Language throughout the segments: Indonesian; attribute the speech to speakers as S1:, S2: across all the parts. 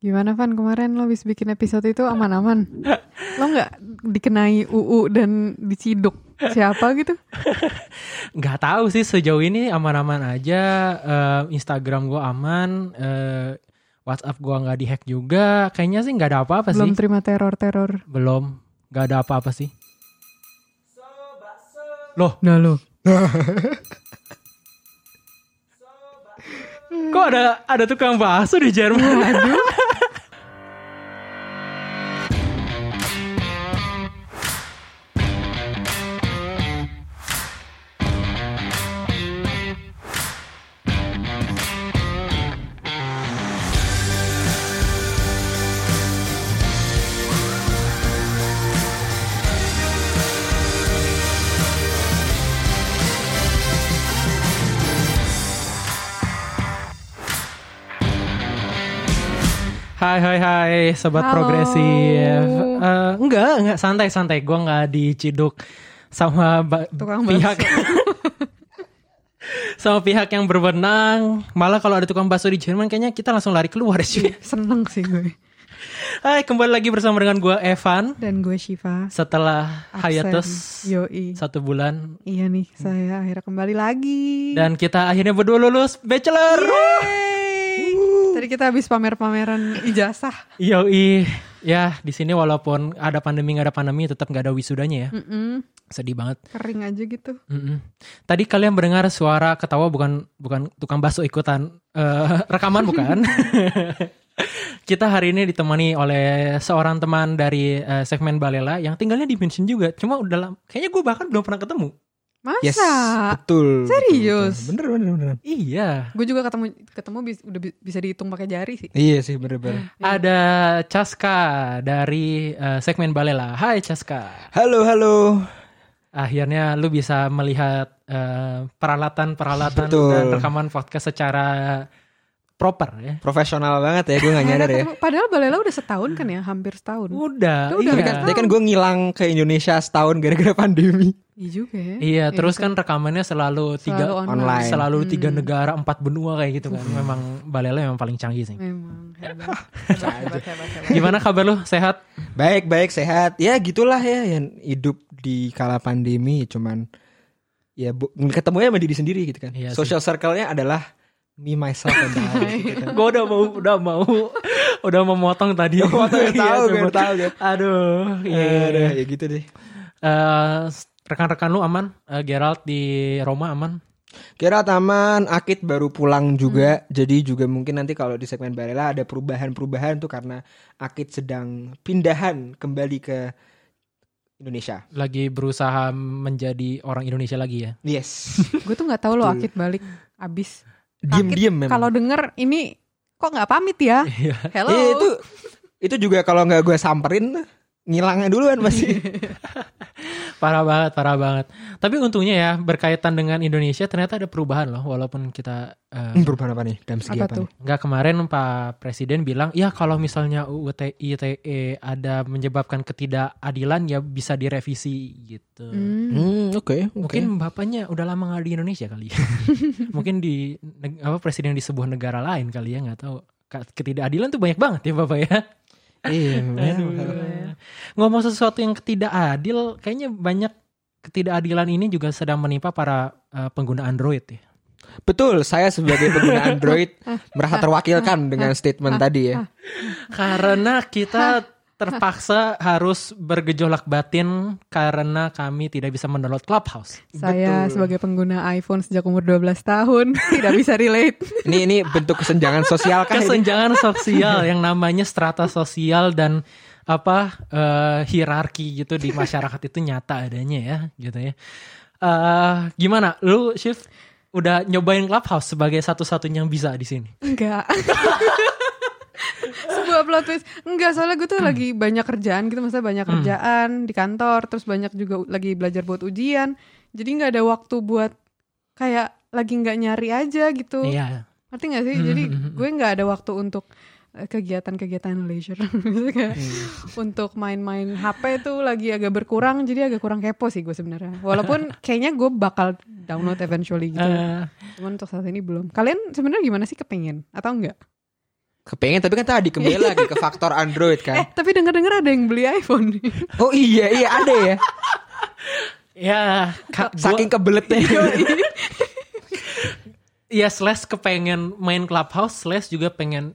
S1: Gimana Van kemarin lo habis bikin episode itu aman-aman? lo nggak dikenai UU dan diciduk siapa gitu?
S2: nggak tahu sih sejauh ini aman-aman aja Eh, Instagram gue aman eh, WhatsApp gue nggak dihack juga kayaknya sih nggak ada apa-apa
S1: Belum
S2: sih
S1: terima teror-teror.
S2: belum nggak ada apa-apa sih loh
S1: Nah lo.
S2: kok ada ada tukang bakso di Jerman Hai hai hai sobat
S1: Halo.
S2: progresif. Eh, enggak enggak santai santai gua nggak diciduk sama ba-
S1: Tukang
S2: pihak sama pihak yang berwenang. Malah kalau ada tukang bakso di Jerman kayaknya kita langsung lari keluar
S1: Iya.
S2: sih.
S1: Seneng sih gue.
S2: Hai kembali lagi bersama dengan gua Evan
S1: Dan gue Shiva.
S2: setelah
S1: absen.
S2: hiatus
S1: Yoi.
S2: satu bulan
S1: Iya nih, saya akhirnya kembali lagi.
S2: dan kita akhirnya berdua lulus bachelor.
S1: Yeay. Tadi kita habis pamer-pameran ijazah.
S2: Yoi. Ya, di sini walaupun ada pandemi nggak ada pandemi tetap nggak ada wisudanya ya.
S1: Mm-mm,
S2: Sedih banget.
S1: Kering aja gitu.
S2: Mm-mm. Tadi kalian mendengar suara ketawa bukan bukan tukang bakso ikutan eh, rekaman bukan? Kita hari ini ditemani oleh seorang teman dari eh, segmen Balela yang tinggalnya di München juga. Cuma udah lama, kayaknya gue bahkan belum pernah ketemu.
S1: Masa?
S3: Yes, betul.
S1: Serius?
S3: betul, betul. Bener, bener, bener.
S2: Iya.
S1: Gue juga ketemu ketemu bis- udah bi- bisa dihitung pakai jari sih.
S3: Iya sih, bener, bener.
S2: Ada Caska dari eh, segmen Balela. Hai Caska.
S3: Halo, halo.
S2: Akhirnya lu bisa melihat eh, peralatan-peralatan
S3: Betul.
S2: dan rekaman podcast secara proper ya.
S3: Profesional banget ya, gue gak nyadar ya.
S1: Akhirnya ketemu- Padahal Balela udah setahun kan ya, hampir setahun.
S2: Udah.
S1: Udah,
S3: Tapi
S2: iya.
S3: kan, tapi kan gue ngilang ke Indonesia setahun gara-gara pandemi.
S1: Iya juga ya.
S2: Iya,
S1: Iya,
S2: terus kan rekamannya selalu tiga
S1: Selalu online.
S3: online.
S2: selalu tiga
S1: Hmm.
S2: negara, empat benua kayak gitu kan. Memang Balela memang paling canggih sih.
S1: Memang hebat. hebat, hebat, hebat.
S2: Gimana kabar lu? Sehat?
S3: Baik-baik, sehat. Ya gitulah ya, yang hidup di kala pandemi cuman ya bu, ketemunya sama diri sendiri gitu kan.
S2: Iya sih.
S3: Social circle-nya adalah me myself and I. gitu kan.
S2: Gue udah mau udah mau udah mau motong tadi.
S3: Gua tahu,
S2: Iya,
S3: tahu, gue
S2: coba.
S3: tahu ya.
S2: Aduh, iya.
S3: Aduh, ya gitu deh.
S2: Eh, rekan-rekan lu aman? Eh, Gerald di Roma aman?
S3: Kira Taman, Akit baru pulang juga, jadi juga mungkin nanti kalau di segmen Barela ada perubahan-perubahan tuh karena Akit sedang pindahan kembali ke Indonesia.
S2: Lagi berusaha menjadi orang Indonesia lagi ya.
S3: Yes.
S1: Gue tuh nggak tahu lo
S3: Betul.
S1: Akit balik abis.
S3: Diem-diem memang.
S1: Kalau denger ini kok nggak pamit ya?
S2: Iya.
S1: Hello.
S3: Eh, itu itu juga kalau nggak gue samperin ngilangnya duluan masih.
S1: Iya.
S2: Parah banget, parah banget. Tapi untungnya ya berkaitan dengan Indonesia ternyata ada perubahan loh walaupun kita eh,
S3: Hmm, perubahan apa nih? Dalam segi
S1: Apa
S3: apa,
S1: tuh?
S3: nih?
S2: Nggak kemarin Pak Presiden bilang, ya kalau misalnya UU ITE E ada menyebabkan ketidakadilan ya bisa direvisi gitu.
S1: Hmm.
S3: Hmm, oke.
S2: Mungkin bapaknya udah lama nggak di Indonesia kali. ya. Mungkin di neg- apa presiden di sebuah negara lain kali ya nggak tahu. Ka- Ketidakadilan tuh banyak banget ya bapak ya.
S3: iya, iya.
S2: Aduh. Ngomong sesuatu yang ketidakadil, kayaknya banyak ketidakadilan ini juga sedang menimpa para eh, pengguna Android ya.
S3: Betul, saya sebagai pengguna Android
S1: Ah,
S3: merasa terwakilkan dengan statement tadi ya.
S2: Karena kita terpaksa harus bergejolak batin karena kami tidak bisa mendownload Clubhouse.
S1: Saya
S3: Betul.
S1: sebagai pengguna iPhone sejak umur 12 tahun tidak bisa relate.
S3: Ini ini bentuk kesenjangan sosial kan ini?
S2: Kesenjangan sosial yang namanya strata sosial dan apa eh, hierarki gitu di masyarakat itu nyata adanya ya gitu ya. Eh, gimana? Lu Shift udah nyobain Clubhouse sebagai satu-satunya yang bisa di sini?
S1: Enggak. Sebuah plot twist. Enggak, soalnya gue tuh lagi banyak kerjaan gitu, maksudnya banyak
S2: Hmm.
S1: kerjaan di kantor, terus banyak juga u- lagi belajar buat ujian. Jadi nggak ada waktu buat kayak lagi nggak nyari aja gitu.
S2: Iya. hmm,
S1: Ngerti nggak sih? Jadi gue nggak ada waktu untuk eh, kegiatan-kegiatan leisure Maksudnya kayak
S2: Iya.
S1: untuk main-main HP tuh lagi agak berkurang jadi agak kurang kepo sih gue sebenarnya walaupun kayaknya gue bakal download eventually gitu
S2: Eh,
S1: cuman untuk saat ini belum kalian sebenarnya gimana sih kepengen atau enggak
S3: Kepengen tapi kan tadi kembali lagi ke faktor Android
S1: Eh,
S3: kan.
S1: tapi denger-denger ada yang beli iPhone nih.
S3: Oh iya iya ada ya.
S2: Ya, ka- gua-
S3: Saking kebeletnya.
S2: ya slash kepengen main clubhouse slash juga pengen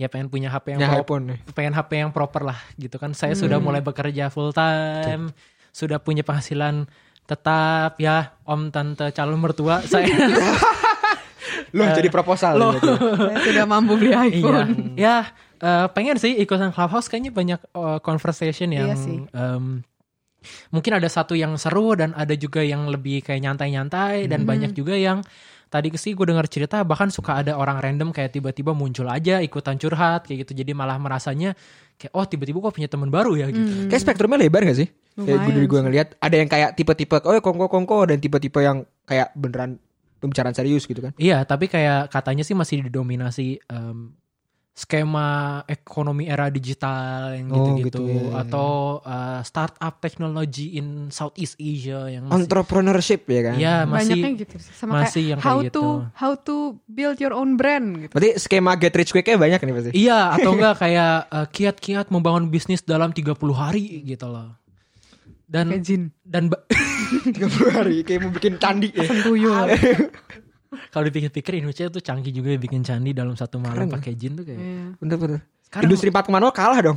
S2: ya pengen punya HP yang
S3: Punya
S2: pro-
S3: iPhone.
S2: pengen HP yang proper lah gitu kan saya sudah
S1: Hmm.
S2: mulai bekerja full time sudah punya penghasilan tetap ya om tante calon mertua saya
S3: Loh jadi proposal
S2: loh.
S3: gitu.
S1: Saya tidak mampu beli
S2: iya
S1: iPhone.
S2: ya eh, pengen sih ikutan clubhouse kayaknya banyak eh, conversation yang
S1: Iya sih.
S2: em, mungkin ada satu yang seru dan ada juga yang lebih kayak nyantai-nyantai dan
S1: Hmm.
S2: banyak juga yang tadi sih gue dengar cerita bahkan suka ada orang random kayak tiba-tiba muncul aja ikutan curhat kayak gitu jadi malah merasanya kayak oh tiba-tiba gue punya teman baru ya gitu
S1: Hmm.
S3: Kayak spektrumnya lebar gak sih? Kayak gue
S1: Lumayan
S3: dari gue ngelihat ada yang kayak tipe-tipe oh ya kongko-kongko dan tipe-tipe yang kayak beneran pembicaraan serius gitu kan.
S2: Iya, tapi kayak katanya sih masih didominasi em, skema ekonomi era digital yang
S3: Oh,
S2: gitu-gitu
S3: gitu ya.
S2: atau eh, startup technology in Southeast Asia yang masih
S3: Entrepreneurship ya kan.
S2: Iya, masih
S1: Banyaknya gitu sih. Sama
S2: masih
S1: kayak
S2: yang kayak
S1: how
S2: gitu.
S1: to how to build your own brand gitu.
S3: Berarti skema get rich quick-nya banyak nih pasti.
S2: Iya, atau enggak kayak eh, kiat-kiat membangun bisnis dalam 30 hari gitu loh.
S1: Kayak
S2: Dan
S1: jin,
S2: dan ba-
S3: 30 hari kayak mau bikin candi ya.
S1: tuyul.
S2: kalau dipikir-pikir Indonesia tuh canggih juga ya bikin candi dalam satu malam
S3: ya?
S2: pakai jin tuh kayak.
S1: Iya.
S3: Bener-bener.
S2: Sekarang-
S3: Industri 4.0 kalah dong.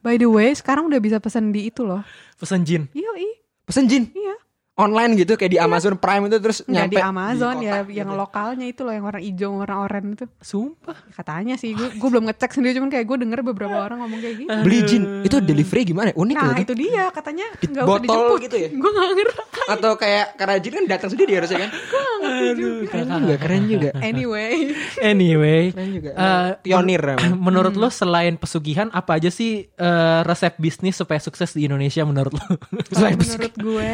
S1: By the way, sekarang udah bisa pesan di itu loh.
S2: Pesan jin.
S1: Yoi,
S3: Pesen jin
S1: iya.
S3: online gitu kayak di Amazon Prime itu terus
S1: Nggak di
S3: nyampe
S1: Amazon
S3: di
S1: ya,
S3: kotak
S1: yang
S3: gitu.
S1: lokalnya itu loh, yang warna hijau, warna oranye itu.
S2: Sumpah.
S1: Katanya sih, gue gue belum ngecek sendiri, cuman kayak gue denger beberapa orang ngomong kayak gitu.
S3: beli jin itu delivery gimana? Unik
S1: Nah
S3: loh kan? itu.
S1: itu dia, katanya
S3: Di
S1: nggak usah
S3: botol
S1: dijemput.
S3: gitu ya?
S1: Gue gak ngerti,
S3: Atau kayak karena jin kan datang sendiri harusnya kan.
S1: nggak ngerti juga.
S3: Keren juga, Iya, keren juga.
S1: Anyway,
S2: Anyway,
S3: Keren juga.
S2: eh,
S3: Pionir. namanya.
S2: Menurut lo selain pesugihan apa aja sih eh, resep bisnis supaya sukses di Indonesia menurut lo?
S1: kalau menurut gue,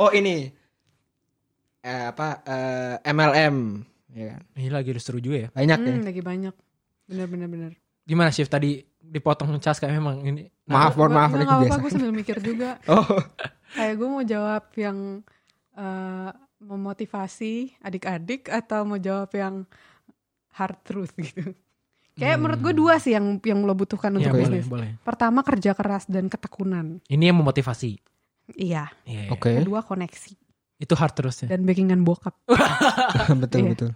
S3: Oh ini eh, apa eh, MLM ya kan
S2: Ini lagi seru juga ya.
S3: banyak ya.
S1: hmm, lagi banyak. Bener-bener bener.
S2: Gimana shift tadi dipotong cas kayak memang ini.
S3: Nah,
S2: Nah,
S3: Maaf, mohon
S1: Gua-
S3: maaf
S1: nggak
S3: ini
S1: apa-apa,
S3: kebiasaan.
S1: gue sambil mikir juga.
S3: Oh,
S1: Kayak gue mau jawab yang eh, memotivasi adik-adik atau mau jawab yang hard truth gitu. Kayak menurut gue dua sih yang yang lo butuhkan
S2: Ya,
S3: Iya,
S1: untuk
S2: boleh,
S1: bisnis.
S2: boleh.
S1: Pertama kerja keras dan ketekunan.
S2: Ini yang memotivasi.
S1: Iya.
S2: Iya, iya.
S3: oke. Iya.
S1: Kedua koneksi
S2: Itu hard terusnya.
S1: dan backingan bokap.
S3: betul
S1: Iya.
S3: betul.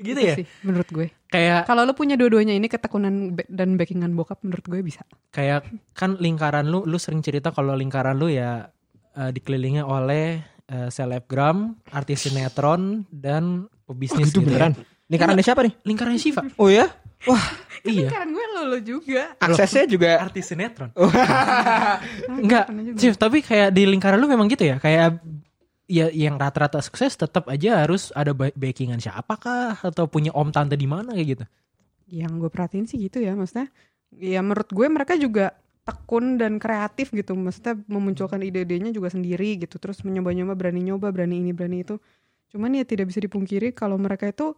S2: Gitu
S1: Itu
S2: ya.
S1: sih menurut gue.
S2: Kayak
S1: Kalau lo punya dua-duanya ini ketekunan ba- dan backingan bokap menurut gue bisa.
S2: kayak kan lingkaran lu lu sering cerita kalau lingkaran lu ya eh, dikelilingi oleh eh, selebgram, artis sinetron dan
S1: Iya
S2: pebisnis
S3: Oh, Itu
S2: gitu ya.
S3: beneran. Ini karena ini siapa nih?
S2: Lingkarannya Shiva.
S3: Oh ya,
S2: iya,
S1: Kan gue lo, lo juga.
S3: aksesnya juga
S2: artis sinetron.
S3: Iya.
S1: Nah,
S2: Enggak,
S1: ketekunan juga.
S2: Cif, tapi kayak di lingkaran lu memang gitu ya, kayak ya yang rata-rata sukses tetap aja harus ada ba- backingan siapakah atau punya om tante di mana kayak gitu.
S1: yang gue perhatiin sih gitu ya maksudnya ya menurut gue mereka juga tekun dan kreatif gitu maksudnya memunculkan ide-idenya juga sendiri gitu terus mencoba-nyoba berani nyoba berani ini berani itu cuman ya tidak bisa dipungkiri kalau mereka itu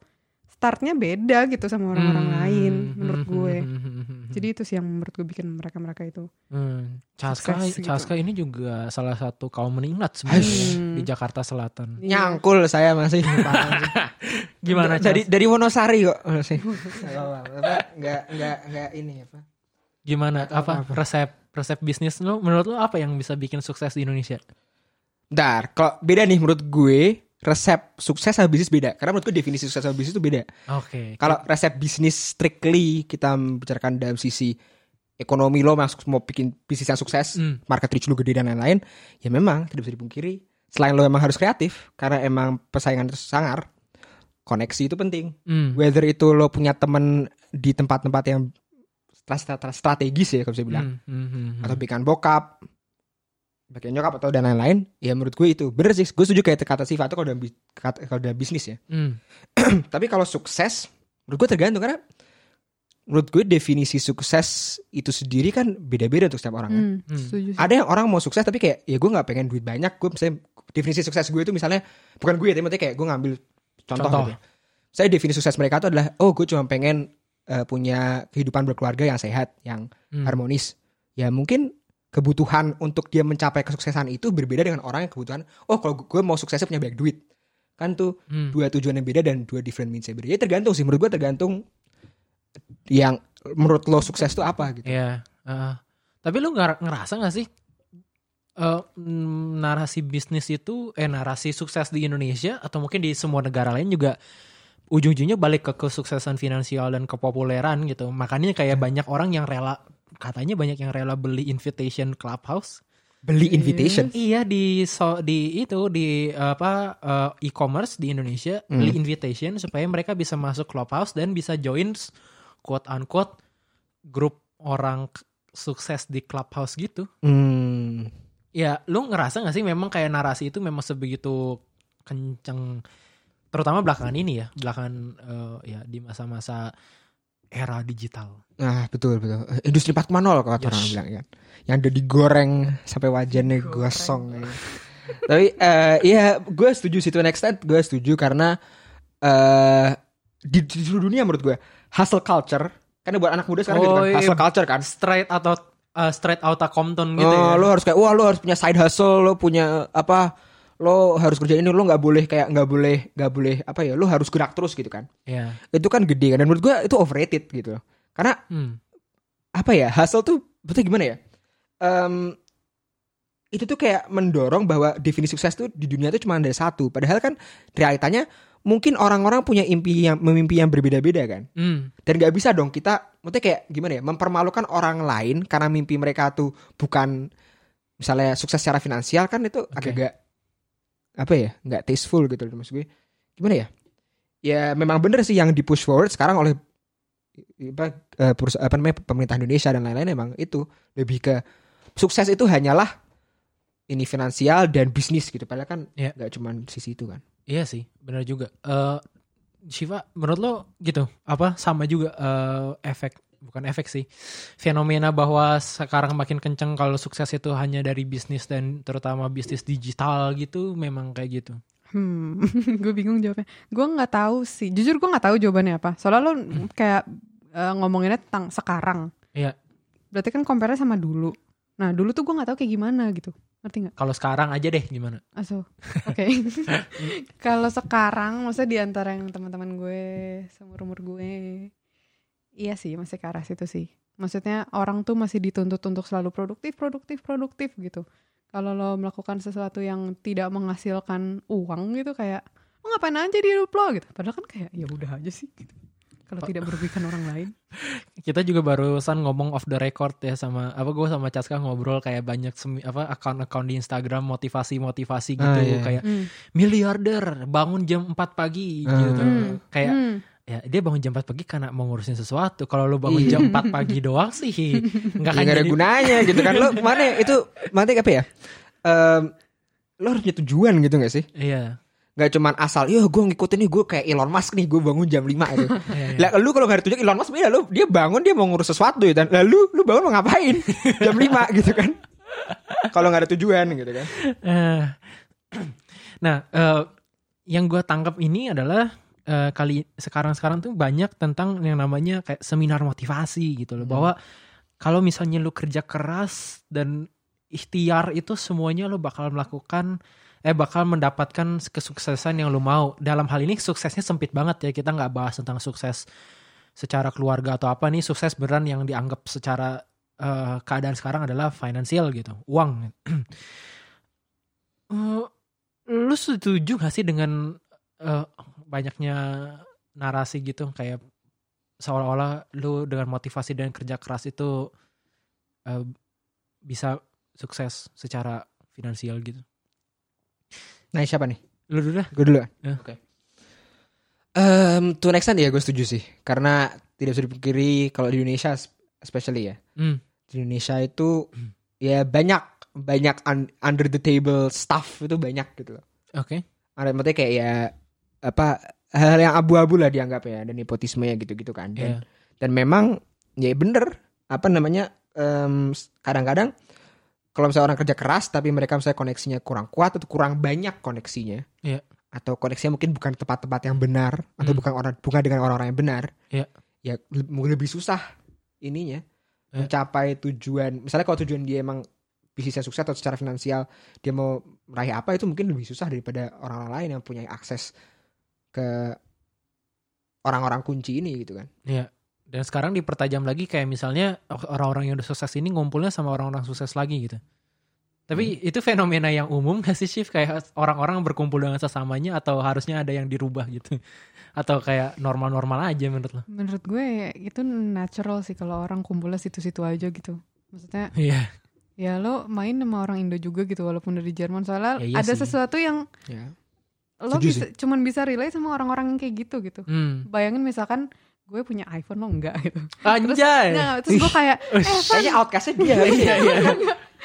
S1: startnya beda gitu sama orang-orang
S2: Hmm.
S1: lain menurut gue
S2: Hmm.
S1: jadi itu sih yang menurut gue bikin mereka mereka itu
S2: Hmm. Chaska,
S1: sukses gitu.
S2: Chaska ini juga salah satu kaum meningkat sebenarnya
S1: Hmm.
S2: di Jakarta Selatan.
S3: nyangkul saya masih. Parah sih.
S2: Gimana
S3: dari
S2: Chas?
S3: dari Wonosari kok masih. Nggak apa-apa, Nggak nggak nggak ini apa.
S2: Gimana apa resep resep bisnis lu menurut lu apa yang bisa bikin sukses di Indonesia?
S3: Bentar, kalau beda nih menurut gue resep sukses sama bisnis beda. Karena menurut gue definisi sukses sama bisnis itu beda.
S2: Oke.
S3: Kalau resep bisnis strictly kita membicarakan dalam sisi ekonomi lo masuk mau bikin bisnis yang sukses,
S2: Hmm.
S3: market reach lo gede dan lain-lain, ya memang tidak bisa dipungkiri. Selain lo emang harus kreatif karena emang persaingan terus sangar, koneksi itu penting.
S2: Hmm.
S3: Whether itu lo punya temen di tempat-tempat yang stra- stra- strategis ya kalau bisa bilang,
S2: Hmm, hmm, hmm, hmm.
S3: atau bikin bokap, bagian nyokap atau dan lain-lain, ya menurut gue itu bener sih. Gue setuju kayak kata Siva itu kalau dalam bi- kata- kalau dalam bisnis ya.
S2: Hmm.
S3: Tapi kalau sukses, menurut gue tergantung karena menurut gue definisi sukses itu sendiri kan beda-beda untuk setiap orang. kan.
S1: Hmm,
S2: Hmm.
S1: setuju sih.
S3: Ada yang orang mau sukses tapi kayak ya gue nggak pengen duit banyak. Gue misalnya definisi sukses gue itu misalnya bukan gue, tapi maksudnya kayak gue ngambil contoh.
S2: Contoh.
S3: gitu ya. Saya definisi sukses mereka itu adalah oh gue cuma pengen eh, punya kehidupan berkeluarga yang sehat, yang
S2: Hmm.
S3: harmonis. Ya mungkin kebutuhan untuk dia mencapai kesuksesan itu berbeda dengan orang yang kebutuhan oh kalau gue mau suksesnya punya banyak duit kan tuh
S2: Hmm.
S3: dua tujuan yang beda dan dua different means yang beda. Ya tergantung sih menurut gue tergantung yang menurut lo sukses tuh apa gitu?
S2: Iya. heeh. tapi lu ngar- ngerasa nggak sih eh, mm, narasi bisnis itu, eh narasi sukses di Indonesia atau mungkin di semua negara lain juga ujung-ujungnya balik ke kesuksesan finansial dan kepopuleran gitu. Makanya kayak banyak orang yang rela, katanya banyak yang rela beli invitation clubhouse
S3: Beli invitation.
S2: Iya di so, di itu di apa eh, e-commerce di Indonesia
S3: Hmm.
S2: beli invitation supaya mereka bisa masuk clubhouse dan bisa join s- quote unquote grup orang k- sukses di clubhouse gitu.
S3: Hmm.
S2: Ya, lu ngerasa nggak sih memang kayak narasi itu memang sebegitu kenceng terutama belakangan ini ya, belakangan eh, ya di masa-masa era digital.
S3: Nah betul betul. Eh, Industri 4.0 kalau kata orang
S2: Yes.
S3: bilang kan. Yang udah digoreng sampai wajannya
S1: Digoreng.
S3: gosong. ya. Tapi eh ya gue setuju sih to an extent gue setuju karena eh di, di seluruh dunia menurut gue hustle culture karena buat anak muda sekarang gitu kan
S2: Oh, iya.
S3: hustle culture kan.
S2: Straight atau eh, straight outta Compton gitu
S3: Eh,
S2: ya.
S3: Lo harus kayak wah lo harus punya side hustle, lo punya apa? Lo harus kerjain ini, lo nggak boleh kayak nggak boleh nggak boleh apa ya? Lo harus gerak terus gitu kan.
S2: Iya.
S3: Itu kan gede kan dan menurut gue itu overrated gitu. Karena
S2: Hmm.
S3: apa ya hustle tuh betul gimana ya Em, itu tuh kayak mendorong bahwa definisi sukses tuh di dunia tuh cuma ada satu padahal kan realitanya mungkin orang-orang punya impi yang memimpi yang berbeda-beda kan
S2: Hmm.
S3: dan nggak bisa dong kita maksudnya kayak gimana ya mempermalukan orang lain karena mimpi mereka tuh bukan misalnya sukses secara finansial kan itu agak-agak apa ya nggak tasteful gitu loh maksud gue gimana ya ya memang bener sih yang di push forward sekarang oleh apa, eh, perus- apa namanya pemerintah Indonesia dan lain-lain emang itu lebih ke sukses itu hanyalah ini finansial dan bisnis gitu padahal kan
S2: Iya.
S3: nggak cuman sisi itu kan
S2: Iya sih, benar juga. Eh Shiva, menurut lo gitu apa sama juga eh, efek bukan efek sih fenomena bahwa sekarang makin kenceng kalau sukses itu hanya dari bisnis dan terutama bisnis digital gitu memang kayak gitu.
S1: Hmm, gue bingung jawabnya. Gue nggak tahu sih. Jujur gue nggak tahu jawabannya apa. Soalnya lo kayak eh, ngomonginnya tentang sekarang.
S2: Iya.
S1: Berarti kan compare sama dulu. Nah dulu tuh gue nggak tahu kayak gimana gitu. Ngerti nggak?
S2: Kalau sekarang aja deh gimana?
S1: Aso. Oke. Kalau sekarang, maksudnya di antara yang teman-teman gue seumur umur gue, iya sih masih ke arah situ sih. Maksudnya orang tuh masih dituntut untuk selalu produktif, produktif, produktif gitu. Kalau lo melakukan sesuatu yang tidak menghasilkan uang gitu kayak lo ngapain aja di hidup lo gitu. Padahal kan kayak ya udah aja sih gitu. Kalau tidak merugikan orang lain.
S2: Kita juga barusan ngomong off the record ya sama apa gue sama Caska ngobrol kayak banyak semi- apa account-account di Instagram motivasi-motivasi gitu
S3: Ah, iya.
S2: kayak
S1: Hmm.
S2: miliarder bangun jam 4 pagi
S3: Ah.
S2: gitu.
S1: Hmm.
S2: Kayak
S1: Hmm.
S2: ya dia bangun jam 4 pagi karena mau ngurusin sesuatu. Kalau lu bangun
S3: Iya.
S2: jam 4 pagi doang sih nggak akan
S3: Gak ada
S2: jadi-
S3: gunanya gitu kan lo mana itu mana apa ya Em, lo harus punya tujuan gitu gak sih
S2: Iya.
S3: Gak cuman asal yo gue ngikutin nih gue kayak Elon Musk nih gue bangun jam 5 gitu
S2: iya, iya.
S3: lah lu kalau gak ada tujuan Elon Musk beda lu dia bangun dia mau ngurus sesuatu gitu kan lalu lu bangun mau ngapain jam 5 gitu kan kalau gak ada tujuan gitu kan
S2: Eh, nah, eh, yang gue tangkap ini adalah eh, kali sekarang-sekarang tuh banyak tentang yang namanya kayak seminar motivasi gitu loh.
S3: Hmm.
S2: Bahwa kalau misalnya lu kerja keras dan ikhtiar itu semuanya lu bakal melakukan eh bakal mendapatkan kesuksesan yang lu mau. Dalam hal ini suksesnya sempit banget ya. Kita nggak bahas tentang sukses secara keluarga atau apa nih sukses beran yang dianggap secara eh, keadaan sekarang adalah finansial gitu, uang. Eh, lu setuju gak sih dengan eh, banyaknya narasi gitu kayak seolah-olah lu dengan motivasi dan kerja keras itu eh, bisa sukses secara finansial gitu.
S3: nah siapa nih
S2: Lu dulu dah.
S3: gue dulu kan
S2: Ya.
S3: oke Em, to an extent ya gue setuju sih karena tidak bisa dipungkiri kalau di Indonesia especially ya
S2: Hmm.
S3: di Indonesia itu ya banyak banyak un- under the table stuff itu banyak gitu loh.
S2: Oke.
S3: Ada maksudnya kayak ya apa hal yang abu-abu lah dianggapnya dan nepotisme ya gitu-gitu kan.
S2: Iya.
S3: Dan, dan memang ya bener apa namanya em, s- kadang-kadang kalau misalnya orang kerja keras tapi mereka misalnya koneksinya kurang kuat atau kurang banyak koneksinya.
S2: Iya.
S3: Atau koneksinya mungkin bukan tempat-tempat yang benar atau
S2: Hmm.
S3: bukan orang bukan dengan orang-orang yang benar.
S2: Iya.
S3: Ya le- lebih susah ininya
S2: Iya.
S3: mencapai tujuan. Misalnya kalau tujuan dia emang bisnisnya sukses atau secara finansial dia mau meraih apa itu mungkin lebih susah daripada orang-orang lain yang punya akses ke orang-orang kunci ini gitu kan.
S2: Dan sekarang dipertajam lagi kayak misalnya orang-orang yang udah sukses ini ngumpulnya sama orang-orang sukses lagi gitu. Tapi
S1: Hmm.
S2: itu fenomena yang umum gak sih Shift? Kayak orang-orang berkumpul dengan sesamanya atau harusnya ada yang dirubah gitu? Atau kayak normal-normal aja menurut lo?
S1: Menurut gue itu natural sih kalau orang kumpulnya situ-situ aja gitu. Maksudnya
S2: Iya.
S1: ya lo main sama orang Indo juga gitu walaupun dari Jerman soalnya
S2: Ya, iya
S1: ada
S2: sih.
S1: sesuatu yang
S3: Ya.
S1: lo
S3: Setuju
S1: bisa, cuman bisa relate sama orang-orang yang kayak gitu gitu.
S2: Hmm.
S1: Bayangin misalkan gue punya iPhone lo enggak gitu. Terus,
S2: Anjay.
S1: Nggak, terus gue kayak eh Van,
S3: Kayaknya outcastnya dia.
S2: Iya, iya.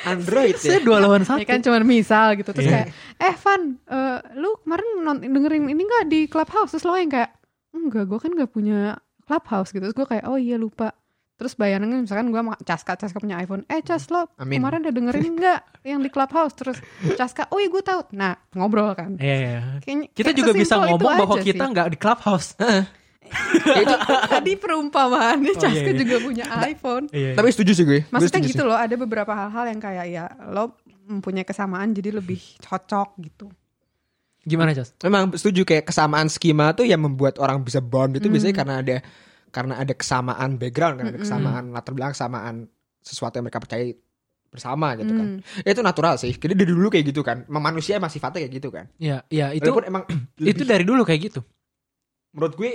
S3: Android ya.
S2: Saya dua lawan satu.
S1: ya kan cuman misal gitu terus
S2: Iya.
S1: kayak eh Van eh, lu kemarin non- dengerin ini enggak di Clubhouse terus lo yang kayak enggak gue kan nggak punya Clubhouse gitu terus gue kayak oh iya lupa terus bayangin misalkan gue sama Caska Caska punya iPhone eh Cas lo
S3: Amin.
S1: kemarin udah dengerin enggak yang di Clubhouse terus Caska oh iya gue tahu nah ngobrol kan
S2: Iya, iya.
S1: Kayaknya-
S2: Kita
S1: kayak
S2: juga bisa
S1: sesimpel itu
S2: ngomong bahwa
S1: aja
S2: kita
S1: sih.
S2: nggak di clubhouse. Iya,
S1: tadi perumpamaannya
S2: Oh, iya,
S1: Caska
S2: iya.
S1: juga punya iPhone
S2: Iya.
S3: Tapi setuju sih gue. Gue
S1: maksudnya
S3: setuju
S1: gitu
S3: sih.
S1: loh ada beberapa hal-hal yang kayak ya lo mempunyai kesamaan jadi lebih cocok gitu
S2: gimana Jos?
S3: Memang setuju kayak kesamaan skema tuh yang membuat orang bisa bond itu biasanya karena ada karena ada kesamaan background, karena ada kesamaan latar belakang, kesamaan sesuatu yang mereka percaya bersama gitu kan.
S1: Hmm.
S3: Ya, itu natural sih. Jadi dari dulu kayak gitu kan. Emang manusia emang sifatnya kayak gitu kan.
S2: Iya, iya itu
S3: Itu Walaupun emang
S2: itu dari dulu kayak gitu.
S3: menurut gue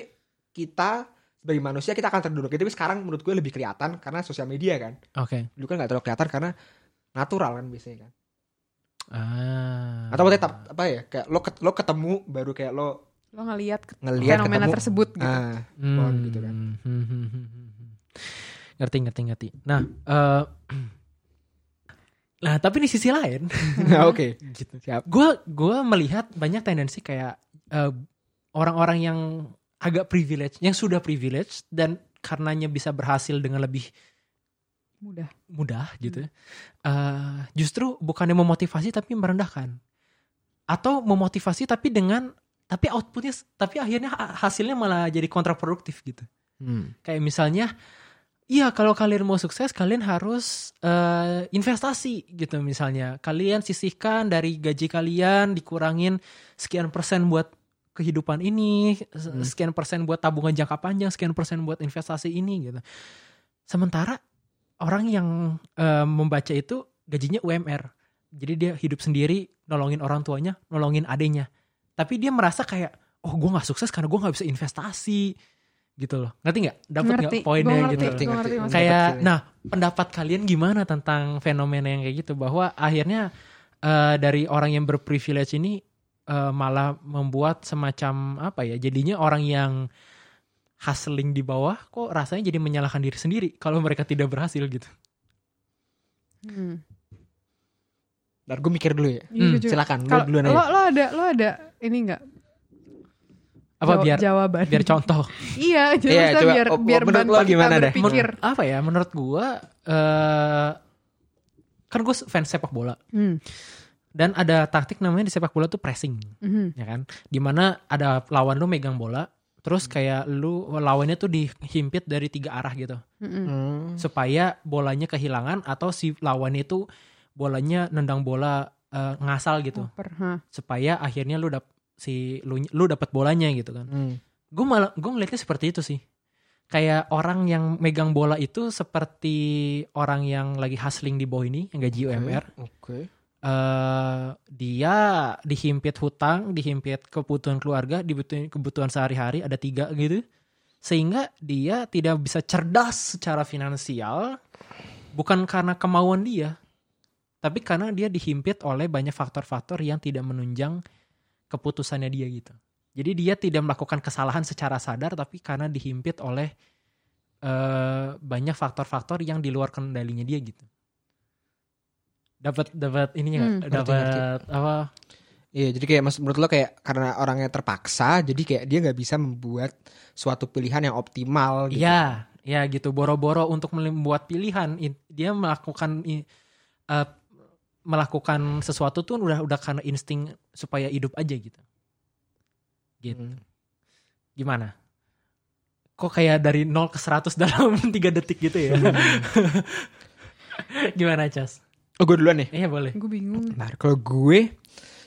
S3: kita sebagai manusia kita akan terduduk tapi sekarang menurut gue lebih kelihatan karena sosial media kan
S2: Oke.
S3: dulu kan nggak terlalu kelihatan karena natural kan biasanya kan
S2: Ah.
S3: atau maksudnya tap- apa ya kayak lo ket- lo ketemu baru kayak lo
S1: lo ngelihat ke-
S3: ngelihat
S1: fenomena
S3: Iya, ketemu
S1: tersebut gitu
S3: Ah,
S2: Hmm.
S3: Pohon gitu kan.
S2: ngerti ngerti ngerti. Nah, eh nah tapi di sisi lain,
S1: Hmm.
S3: nah, oke
S2: gitu.
S3: siap
S2: Gua gua melihat banyak tendensi kayak eh, orang-orang yang agak privilege, yang sudah privilege dan karenanya bisa berhasil dengan lebih
S1: mudah
S3: Hmm.
S2: mudah gitu. Eh, justru bukannya memotivasi tapi merendahkan. Atau memotivasi tapi dengan tapi outputnya tapi akhirnya ha- hasilnya malah jadi kontraproduktif gitu. Kayak misalnya, iya kalau kalian mau sukses kalian harus eh, investasi gitu misalnya. Kalian sisihkan dari gaji kalian dikurangin sekian persen buat kehidupan ini, se-
S3: Hmm.
S2: sekian persen buat tabungan jangka panjang, sekian persen buat investasi ini gitu. Sementara orang yang eh, membaca itu gajinya UMR. Jadi dia hidup sendiri, nolongin orang tuanya, nolongin adenya. Tapi dia merasa kayak, oh gue gak sukses karena gue gak bisa investasi gitu loh. Ngerti gak? Dapat
S1: Ngerti. Gua
S2: gak poinnya gitu?
S1: ngerti, gua ngerti maksudnya.
S2: Kayak,
S3: Kecilnya.
S2: nah pendapat kalian gimana tentang fenomena yang kayak gitu? Bahwa akhirnya eh, dari orang yang berprivilege ini eh, malah membuat semacam apa ya? Jadinya orang yang hustling di bawah kok rasanya jadi menyalahkan diri sendiri kalau mereka tidak berhasil gitu.
S1: Hmm.
S3: ntar gue mikir dulu ya
S1: Iya,
S2: Hmm,
S1: jujur.
S3: silakan lo
S1: Kalau
S3: duluan
S1: lo,
S3: aja
S1: lo ada lo ada ini enggak
S2: Apa
S1: Jawa-
S2: biar
S1: jawaban
S2: biar contoh?
S1: iya jadi
S3: Iya,
S1: maksudnya
S3: coba,
S1: biar
S3: oh,
S1: biar
S3: menurut
S1: bantu
S3: lo
S1: kita
S3: gimana deh?
S1: berpikir
S2: apa ya menurut gua eh kan gue fans sepak bola
S1: Hmm,
S2: dan ada taktik namanya di sepak bola tuh pressing
S1: mhm.
S2: ya kan dimana ada lawan lu megang bola terus kayak lu lawannya tuh dihimpit dari tiga arah gitu
S1: Mm-mm.
S3: Hmm.
S2: supaya bolanya kehilangan atau si lawannya itu bolanya nendang bola eh, ngasal gitu
S1: Over, ha.
S2: supaya akhirnya lu dap si lu, lu dapat bolanya gitu kan
S3: Hmm.
S2: gue malah gue ngeliatnya seperti itu sih kayak orang yang megang bola itu seperti orang yang lagi hustling di bawah ini yang gaji UMR
S3: Hmm. oke
S2: eh dia dihimpit hutang dihimpit kebutuhan keluarga dibutuhin kebutuhan sehari-hari ada tiga gitu sehingga dia tidak bisa cerdas secara finansial bukan karena kemauan dia tapi karena dia dihimpit oleh banyak faktor-faktor yang tidak menunjang keputusannya dia gitu jadi dia tidak melakukan kesalahan secara sadar tapi karena dihimpit oleh eh, banyak faktor-faktor yang di luar kendalinya dia gitu dapat dapat
S1: Hmm.
S2: ininya nggak?
S3: Ngerti, ngerti.
S2: dapat apa
S3: Iya, jadi kayak mas- menurut lo kayak karena orangnya terpaksa, jadi kayak dia nggak bisa membuat suatu pilihan yang optimal. Gitu.
S2: Iya, ya gitu. Boro-boro untuk membuat pilihan, I- dia melakukan i- eh, melakukan sesuatu tuh udah udah karena insting supaya hidup aja gitu. Gitu.
S3: Hmm.
S2: Gimana? Kok kayak dari 0 ke 100 dalam 3 detik gitu ya? Gimana, Cas?
S3: Oh, gue duluan nih.
S2: Iya, boleh.
S1: gue bingung
S3: Bentar, kalau gue,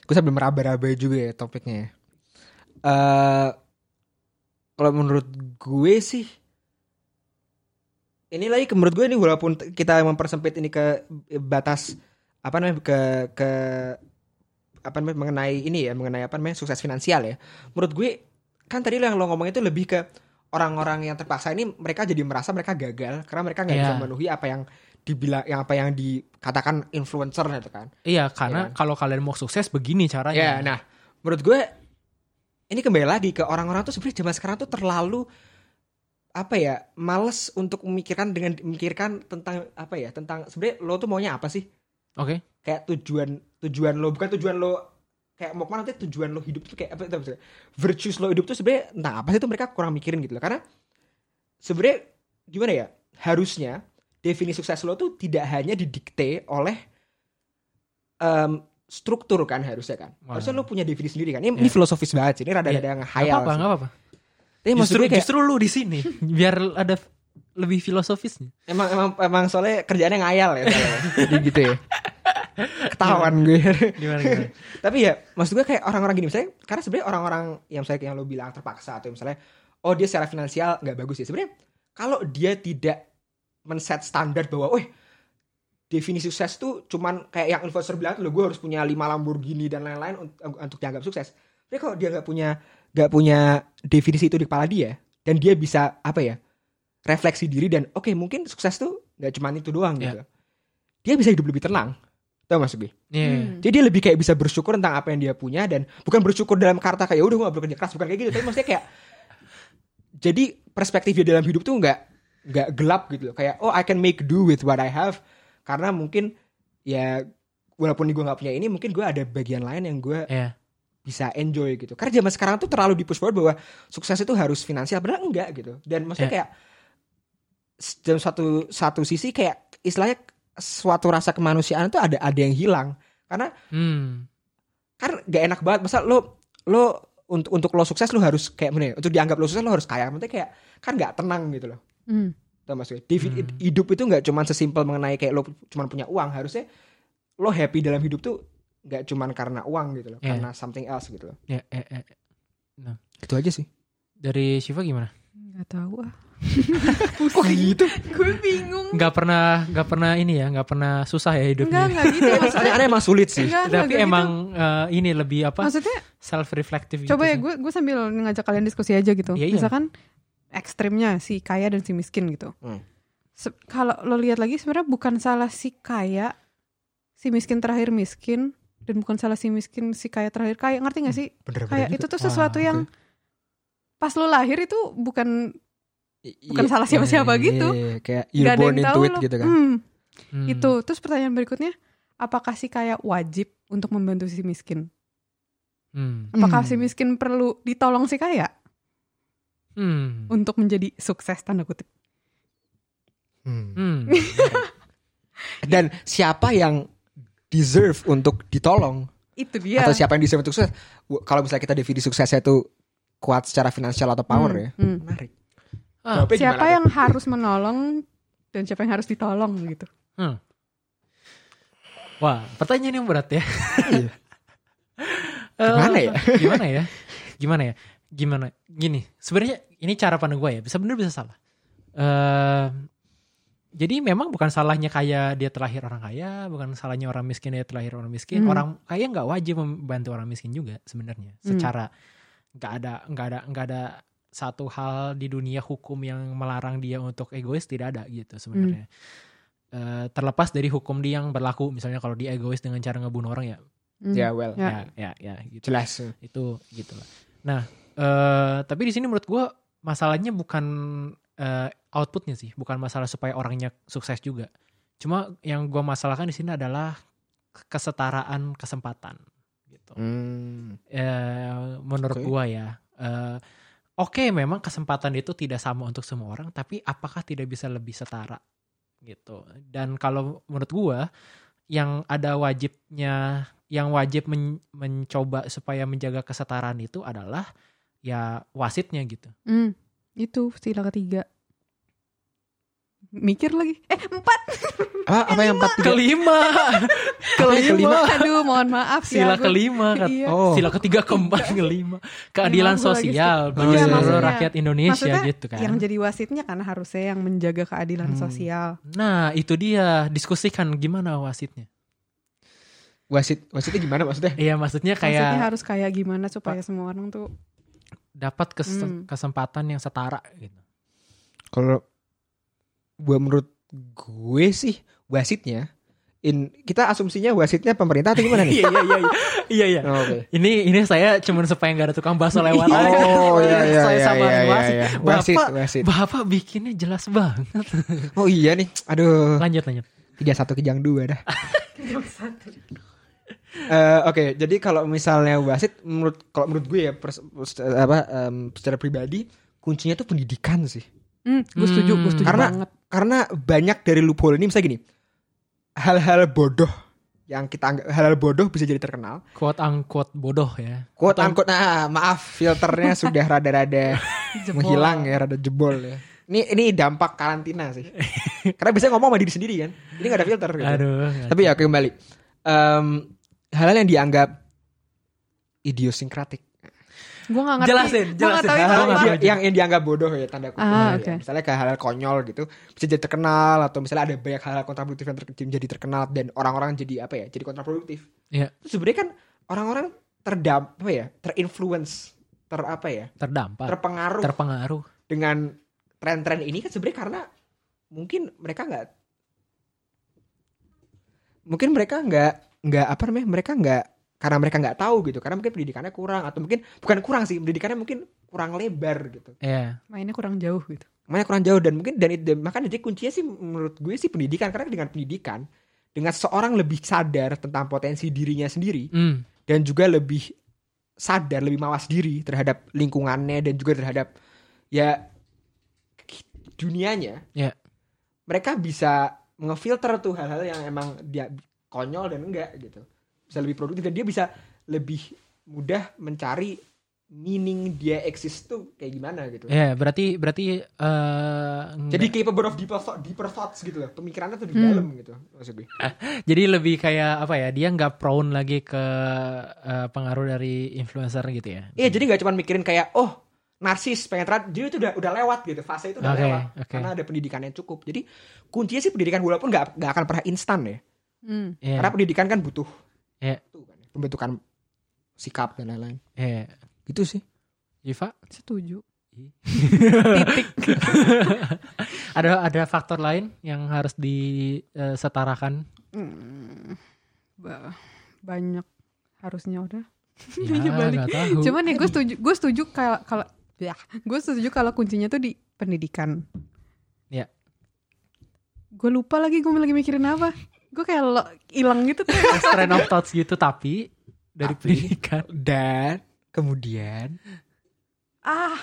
S3: gue sambil meraba-raba juga ya topiknya. ya. Eh, kalau menurut gue sih, Ini lagi ke- menurut gue ini walaupun t- kita mempersempit ini ke batas apa namanya ke ke apa namanya mengenai ini ya mengenai apa namanya sukses finansial ya. Menurut gue kan tadi lo yang lo ngomong itu lebih ke orang-orang yang terpaksa ini mereka jadi merasa mereka gagal karena mereka nggak
S2: Iya.
S3: bisa memenuhi apa yang dibilang yang apa yang dikatakan influencer itu kan.
S2: Iya, karena kalau kalian mau sukses begini caranya.
S3: Ya, nah, menurut gue ini kembali lagi ke orang-orang tuh sebenarnya zaman sekarang tuh terlalu apa ya, males untuk memikirkan dengan memikirkan tentang apa ya, tentang sebenarnya lo tuh maunya apa sih?
S2: Oke.
S3: Kayak tujuan tujuan lo bukan tujuan lo kayak mau kemana tapi tujuan lo hidup tuh kayak apa apa- apa- virtues lo hidup tuh sebenarnya tentang apa sih tuh mereka kurang mikirin gitu loh. Karena sebenarnya gimana ya? Harusnya definisi sukses lo tuh tidak hanya didikte oleh em, struktur kan harusnya kan.
S2: Wah.
S3: Harusnya lo punya definisi sendiri kan. Ini,
S2: Iya.
S3: ini filosofis banget sih. Ini
S2: Iya.
S3: rada-rada yang
S2: Gak
S3: hayal.
S2: apa-apa,
S3: sih.
S2: gak apa-apa.
S3: Tapi maksud
S2: Justru
S3: gue kayak,
S2: justru lu di sini biar ada f- lebih filosofisnya.
S3: emang emang emang soalnya kerjaannya ngayal ya. soalnya. Jadi gitu ya. Ketahuan gue.
S2: Gimana gimana?
S3: Tapi ya maksud gue kayak orang-orang gini misalnya karena sebenarnya orang-orang yang misalnya yang lo bilang terpaksa atau misalnya oh dia secara finansial nggak bagus ya sebenarnya kalau dia tidak men-set standar bahwa weh definisi sukses tuh cuman kayak yang influencer bilang lo gue harus punya 5 Lamborghini dan lain-lain un- untuk dianggap sukses. Tapi kalau dia nggak punya nggak punya definisi itu di kepala dia dan dia bisa apa ya refleksi diri dan oke mungkin sukses tuh nggak cuman itu doang
S2: Iya.
S3: gitu. Dia bisa hidup lebih tenang. Tahu maksud gue?
S2: Iya.
S1: Hmm.
S3: Jadi dia lebih kayak bisa bersyukur tentang apa yang dia punya dan bukan bersyukur dalam kata kayak "Ya udah gue gak perlu kerja keras bukan kayak gitu tapi maksudnya kayak jadi perspektif dia dalam hidup tuh nggak nggak gelap gitu loh kayak oh I can make do with what I have karena mungkin ya walaupun gue nggak punya ini mungkin gue ada bagian lain yang gue
S2: Iya.
S3: bisa enjoy gitu karena zaman sekarang tuh terlalu di push forward bahwa sukses itu harus finansial benar enggak gitu dan maksudnya kayak s- dalam satu satu sisi kayak istilahnya suatu rasa kemanusiaan itu ada ada yang hilang karena
S2: Hmm.
S3: kan gak enak banget masa lo lo untuk untuk lo sukses lo harus kayak mana ya, untuk dianggap lo sukses lo harus kaya maksudnya kayak kan nggak tenang gitu loh
S1: Hmm.
S3: tau maksudnya Divi-
S2: Hmm.
S3: hidup itu nggak cuman sesimpel mengenai kayak lo cuman punya uang harusnya lo happy dalam hidup tuh nggak cuman karena uang gitu loh
S2: Iya.
S3: karena something else gitu loh
S2: Ya, eh, eh.
S3: gitu aja sih
S2: Dari Shiva gimana?
S1: Gak tahu ah.
S3: kok gitu
S1: Gue bingung.
S2: Gak pernah, gak pernah ini ya, gak pernah susah ya
S1: Enggak,
S2: hidupnya.
S1: enggak gitu. Maksudnya,
S3: aneh emang sulit sih
S1: enggak, enggak
S2: Tapi
S1: gitu.
S2: emang eh, ini lebih apa? Gitu
S1: Maksudnya,
S2: Self reflective.
S1: coba ya gue gue sambil ngajak kalian diskusi aja gitu.
S2: Iya, iya.
S1: Misalkan ekstrimnya si kaya dan si miskin gitu.
S3: Hmm.
S1: Se- Kalau lo lihat lagi sebenarnya bukan salah si kaya, si miskin terakhir miskin, dan bukan salah si miskin si kaya terakhir kaya. Ngerti gak sih? Kayak itu tuh sesuatu
S2: Hmm. Wah,
S1: yang pas lo lahir itu bukan bukan
S3: Iya,
S1: salah siapa-siapa
S3: iya,
S1: gitu.
S3: iya, iya, kayak
S1: nggak
S3: you're
S1: ada
S3: born
S1: yang
S3: into
S1: tahu
S3: it
S1: lo.
S3: gitu kan
S1: Hmm.
S2: Hmm.
S1: Itu. Terus pertanyaan berikutnya, apakah si kaya wajib untuk membantu si miskin?
S2: Hmm.
S1: Apakah
S3: Hmm.
S1: si miskin perlu ditolong si kaya
S2: Hmm.
S1: untuk menjadi sukses tanda kutip?
S3: Hmm.
S2: Hmm.
S3: dan siapa yang deserve untuk ditolong
S1: Itu dia.
S3: atau siapa yang deserve untuk sukses W- kalau misalnya kita definisi suksesnya itu kuat secara finansial atau power
S1: Hmm,
S3: ya
S1: hmm.
S3: menarik
S2: Ah.
S3: Jawabnya
S1: Siapa
S3: gimana tuh?
S1: yang harus menolong dan siapa yang harus ditolong gitu?
S2: Wah, pertanyaan yang berat ya.
S3: Iya.
S2: Eh,
S3: Gimana ya?
S2: gimana ya? Gimana ya? Gimana? Gini, sebenarnya ini cara pandang gue ya. Bisa bener bisa salah. Eh, jadi memang bukan salahnya kaya dia terlahir orang kaya, bukan salahnya orang miskin dia terlahir orang miskin.
S1: Hmm.
S2: Orang kaya nggak wajib membantu orang miskin juga sebenarnya.
S1: Hmm.
S2: Secara nggak ada nggak ada nggak ada satu hal di dunia hukum yang melarang dia untuk egois tidak ada gitu sebenarnya. Eh, terlepas dari hukum dia yang berlaku, misalnya kalau dia egois dengan cara ngebunuh orang ya,
S1: Hmm.
S3: ya well
S1: Ya.
S2: ya, ya, ya gitu
S3: jelas
S2: itu gitu lah. Nah, eh tapi di sini menurut gua masalahnya bukan eh, outputnya sih, bukan masalah supaya orangnya sukses juga. Cuma yang gua masalahkan di sini adalah kesetaraan kesempatan gitu.
S3: Hmm.
S2: Eh, menurut
S3: Oke.
S2: gua ya. eh, Oke, memang kesempatan itu tidak sama untuk semua orang, tapi apakah tidak bisa lebih setara gitu? Dan kalau menurut gua, yang ada wajibnya, yang wajib men- mencoba supaya menjaga kesetaraan itu adalah ya wasitnya gitu.
S1: Hmm. Itu sila ketiga. mikir lagi. Eh, empat.
S3: Apa, apa yang empat tiga?
S2: kelima kelima
S1: Aduh, mohon maaf ya.
S2: sila
S1: gua-
S2: kelima kat-
S1: Iya.
S3: Oh.
S2: sila ketiga keempat kelima keadilan
S1: Emang gua lagi
S2: sosial
S1: stres.
S2: bagi
S3: Iya,
S2: seluruh
S1: maksudnya-
S2: rakyat Indonesia
S1: maksudnya
S2: gitu kan
S1: Yang jadi wasitnya kan harusnya yang menjaga keadilan
S3: Hmm.
S1: sosial.
S2: nah itu dia diskusikan gimana wasitnya
S3: Wasit, wasitnya gimana maksudnya?
S2: iya maksudnya
S1: Wasitnya
S2: kayak
S1: harus kayak gimana supaya semua orang tuh
S2: dapat kes-
S1: Hmm.
S2: kesempatan yang setara gitu
S3: Kalau gua menurut gue sih wasitnya in kita asumsinya wasitnya pemerintah atau gimana
S2: iya
S3: nih?
S2: iya iya iya iya
S3: Oh, Oke.
S2: ini ini saya cuman supaya nggak ada tukang bakso lewat
S1: Iya.
S2: aja.
S3: Oh iya iya
S2: Saya
S3: iya
S2: samain
S3: iya
S2: wasit.
S3: iya. Wasit,
S2: Bapak,
S3: wasit.
S2: bapak bikinnya jelas banget.
S3: Oh iya nih. Aduh.
S2: Lanjut lanjut.
S3: tiga satu kejang dua dah. Eh, Oke, jadi kalau misalnya wasit, menurut kalau menurut gue ya, pers- pers- apa em, secara pribadi kuncinya tuh pendidikan sih.
S1: Hmm, gue setuju, gue setuju
S3: Karena-
S1: banget.
S3: Karena banyak dari loophole ini misalnya gini, hal-hal bodoh yang kita anggap hal-hal bodoh bisa jadi terkenal.
S2: Quote unquote bodoh ya.
S3: Quote
S2: Atau-
S3: unquote, nah, maaf filternya sudah rada-rada
S1: Jebol.
S3: menghilang ya, rada jebol ya. Ini ini dampak karantina sih. Karena biasanya ngomong sama diri sendiri kan. Ini gak ada filter gitu.
S2: Aduh.
S3: Tapi ya kembali. Em hal-hal yang dianggap idiosinkratik.
S1: Gue gak ngerti.
S2: Jelasin,
S1: Gua nggak tahu
S2: jelasin.
S1: itu
S2: Hal-hal
S3: Hal-hal
S1: apa.
S3: yang,
S2: ngerti.
S3: yang, yang dianggap bodoh ya tanda kutip.
S1: Ah,
S3: Ya,
S1: oke.
S3: Misalnya kayak hal-hal konyol gitu bisa jadi terkenal atau misalnya ada banyak hal-hal kontraproduktif yang ter- jadi terkenal dan orang-orang jadi apa ya? Jadi kontraproduktif.
S2: Iya.
S3: Terus sebenarnya kan orang-orang terdampak apa ya? Terinfluence, ter apa ya?
S2: terdampak,
S3: Terpengaruh
S2: terpengaruh.
S3: dengan tren-tren ini kan sebenarnya karena mungkin mereka nggak mungkin mereka nggak nggak apa namanya mereka nggak karena mereka nggak tahu gitu karena mungkin pendidikannya kurang atau mungkin bukan kurang sih pendidikannya mungkin kurang lebar gitu
S2: Iya.
S1: Mainnya kurang jauh gitu.
S3: makanya kurang jauh dan mungkin dan, dan makanya jadi kuncinya sih menurut gue sih pendidikan karena dengan pendidikan dengan seorang lebih sadar tentang potensi dirinya sendiri
S2: Hmm.
S3: dan juga lebih sadar, lebih mawas diri terhadap lingkungannya dan juga terhadap ya dunianya.
S2: Ya.
S3: Mereka bisa ngefilter tuh hal-hal yang emang dia konyol dan enggak gitu. Bisa lebih produktif dan dia bisa lebih mudah mencari meaning dia eksis tuh kayak gimana gitu.
S2: Iya, berarti berarti eh,
S3: Jadi capable of deeper, thought- deeper thoughts gitu loh. Pemikirannya tuh di
S1: Hmm.
S3: dalam gitu maksud gue.
S2: jadi lebih kayak apa ya? Dia nggak prone lagi ke eh, pengaruh dari influencer gitu ya.
S3: Iya jadi gak cuma mikirin kayak oh narsis pengen terlihat jadi itu udah udah lewat gitu fase itu udah
S2: Oke,
S3: lewat
S2: oke.
S3: karena ada pendidikan yang cukup jadi kuncinya sih pendidikan walaupun nggak nggak akan pernah instan ya
S1: Hmm.
S2: Iya.
S3: karena pendidikan kan butuh
S2: Iya.
S3: Tuh kan, pembentukan sikap dan lain-lain
S2: Iya.
S3: gitu sih
S2: Iva,
S1: Setuju.
S2: ada ada faktor lain yang harus eh, disetarakan.
S1: Hmm. Ba- Banyak harusnya udah.
S2: Ya,
S1: Iya, balik.
S2: nggak tahu.
S1: Cuman ya gue setuju, gue setuju kalau kalau ya, gue setuju kalau kuncinya tuh di pendidikan.
S2: Iya.
S1: Gue lupa lagi gue lagi mikirin apa. Gue kayak lo- hilang gitu tuh.
S2: Strain of thoughts gitu tapi dari
S3: Tapi.
S2: pendidikan.
S3: dan kemudian
S1: ah.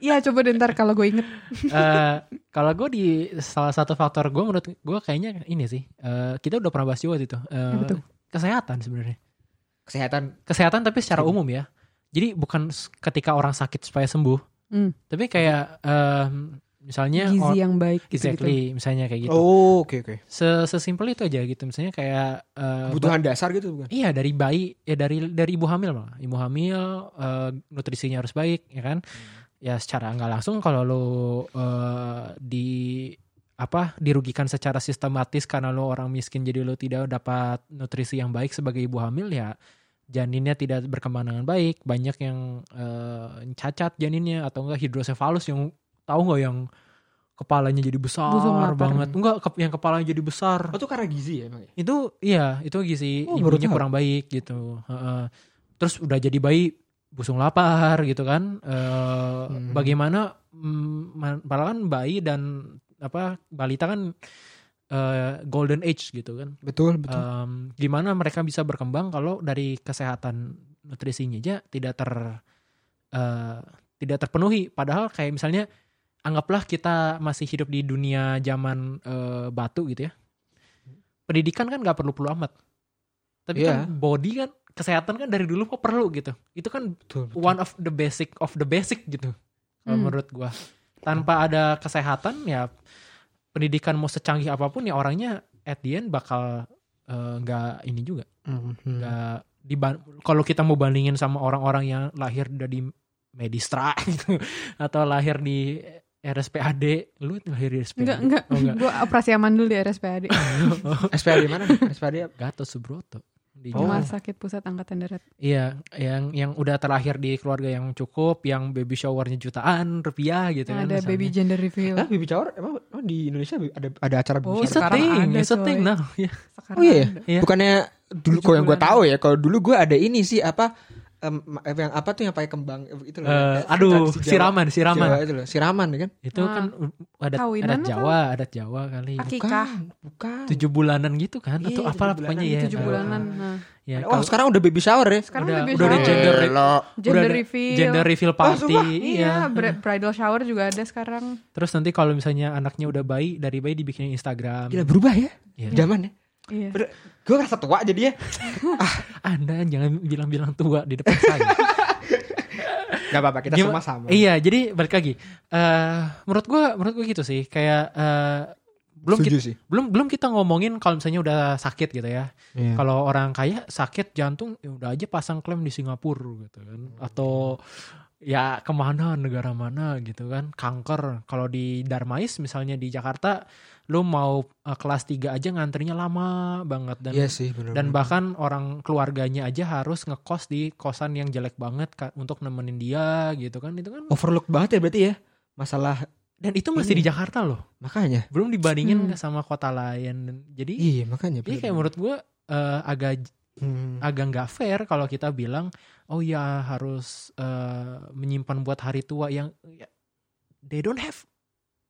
S1: Iya coba deh ntar kalau gue inget.
S2: Eh, kalau gue di salah satu faktor gue menurut gue kayaknya ini sih eh, kita udah pernah bahas juga waktu itu eh,
S1: Apa tuh?
S2: kesehatan sebenarnya
S3: kesehatan
S2: kesehatan tapi
S1: Iya.
S2: secara umum ya jadi bukan s- ketika orang sakit supaya sembuh
S1: Hmm.
S2: tapi kayak em, misalnya
S1: Gizi
S2: or-
S1: yang baik gitu.
S2: Ya, oh, exactly misalnya kayak gitu
S3: oh oke oke
S2: Se- sesimpel itu aja gitu misalnya kayak eh, ba-
S3: kebutuhan dasar gitu bukan
S2: Iya dari bayi ya dari dari ibu hamil malah ibu hamil eh, nutrisinya harus baik ya kan ya secara nggak langsung kalau lo eh, di apa dirugikan secara sistematis karena lo orang miskin jadi lo tidak dapat nutrisi yang baik sebagai ibu hamil ya janinnya tidak berkembang dengan baik banyak yang eh, cacat janinnya atau enggak hidrosefalus yang tahu nggak yang kepalanya jadi besar
S1: Busung lapar.
S2: banget enggak ke- yang kepalanya jadi besar
S3: oh tuh karena gizi ya emang ya?
S2: itu iya itu gizi
S3: Oh, baru
S2: ibunya
S3: tahu.
S2: kurang baik gitu Heeh. terus udah jadi bayi busung lapar gitu kan Eh,
S3: Hmm.
S2: bagaimana mm, ma- padahal kan bayi dan apa balita kan eh, golden age gitu kan
S3: betul
S2: Em, gimana mereka bisa berkembang kalau dari kesehatan nutrisinya aja tidak ter eh, tidak terpenuhi padahal kayak misalnya anggaplah kita masih hidup di dunia zaman eh, batu gitu ya pendidikan kan nggak perlu perlu amat tapi
S3: Iya.
S2: kan body kan kesehatan kan dari dulu kok perlu gitu itu kan
S3: betul, betul.
S2: one of the basic of the basic gitu kalau
S1: Hmm.
S2: menurut gua tanpa ada kesehatan ya pendidikan mau secanggih apapun ya orangnya at the end bakal eh, nggak ini juga
S1: Hmm.
S3: Mhm.
S2: nggak diban- kalau kita mau bandingin sama orang-orang yang lahir dari Medistra gitu atau lahir di RSPAD lu lahir di RSPAD
S1: Enggak, enggak.
S2: Oh, enggak.
S1: Gue operasi aman dulu di RSPAD.
S3: SPAD mana? SPAD apa?
S2: Gatot Subroto di
S3: Oh.
S1: Rumah Sakit Pusat Angkatan Darat.
S2: Iya, yang yang udah terlahir di keluarga yang cukup, yang baby showernya jutaan rupiah gitu kan.
S1: ada
S2: misalnya.
S1: baby gender reveal.
S3: Hah, baby shower emang, emang di Indonesia ada ada acara baby
S1: Oh,
S2: It's a
S3: shower?
S1: Sekarang
S2: thing,
S1: ada,
S2: it's a thing
S1: coy.
S2: now. Iya.
S1: Sekarang
S3: Oh iya ya?
S1: ada.
S2: Iya.
S3: Bukannya dulu
S1: Tujuh
S3: kalau yang gue
S1: bulan.
S3: tahu ya, kalau dulu gue ada ini sih apa em, yang apa tuh yang pakai kembang itu loh.
S2: Eh,
S3: Tradisi
S2: aduh,
S3: Jawa.
S2: siraman, siraman.
S3: Jawa itu loh, siraman kan?
S2: Itu
S1: Ah.
S2: kan adat
S1: Kawinan
S2: adat
S1: apa?
S2: Jawa, adat Jawa kali.
S1: Akikah.
S3: bukan.
S2: Tujuh bulanan gitu kan?
S3: Iya,
S2: Atau
S3: tujuh
S2: apalah
S3: bulanan,
S2: pokoknya ya.
S3: Iya,
S1: Tujuh bulanan. Nah,
S2: Ya,
S3: Oh,
S2: kalau-
S3: sekarang udah baby shower ya?
S1: sekarang
S2: Udah-
S1: baby
S2: udah ada
S1: shower.
S2: gender re-
S1: Gender
S2: udah ada
S1: reveal.
S2: Gender reveal
S3: Oh,
S2: party.
S3: sumpah?
S1: Iya, bri- bridal shower juga ada sekarang.
S2: Terus nanti kalau misalnya anaknya udah bayi, dari bayi dibikinin Instagram.
S3: Gila berubah ya?
S2: Iya.
S3: Zaman ya.
S1: Iya.
S3: Gue ngerasa tua jadi ya.
S2: Anda jangan bilang-bilang tua di depan saya.
S3: Gak apa-apa, kita
S2: Gimana-
S3: semua sama.
S2: Iya, jadi balik lagi. Eh menurut gua menurut gua gitu sih, kayak eh belum
S3: Setuju
S2: kita,
S3: sih.
S2: belum belum kita ngomongin kalau misalnya udah sakit gitu ya.
S3: Iya.
S2: Kalau orang kaya sakit jantung ya udah aja pasang klaim di Singapura gitu kan
S3: Oh,
S2: atau ya
S3: iya.
S2: kemana negara mana gitu kan kanker kalau di Darmais misalnya di Jakarta lu mau eh, kelas 3 aja ngantrinya lama banget dan
S3: Iya sih, benar.
S2: dan bahkan orang keluarganya aja harus ngekos di kosan yang jelek banget Kak, untuk nemenin dia gitu kan itu kan
S3: overlook banget ya berarti ya masalah
S2: dan itu masih
S3: Ini.
S2: di Jakarta loh
S3: makanya.
S2: belum
S1: Hmm.
S2: dibandingin sama kota lain Dan jadi
S3: Iya, makanya.
S2: jadi kayak menurut gue eh, agak
S3: Hmm.
S2: agak nggak fair kalau kita bilang oh ya harus eh, menyimpan buat hari tua yang ya, they don't have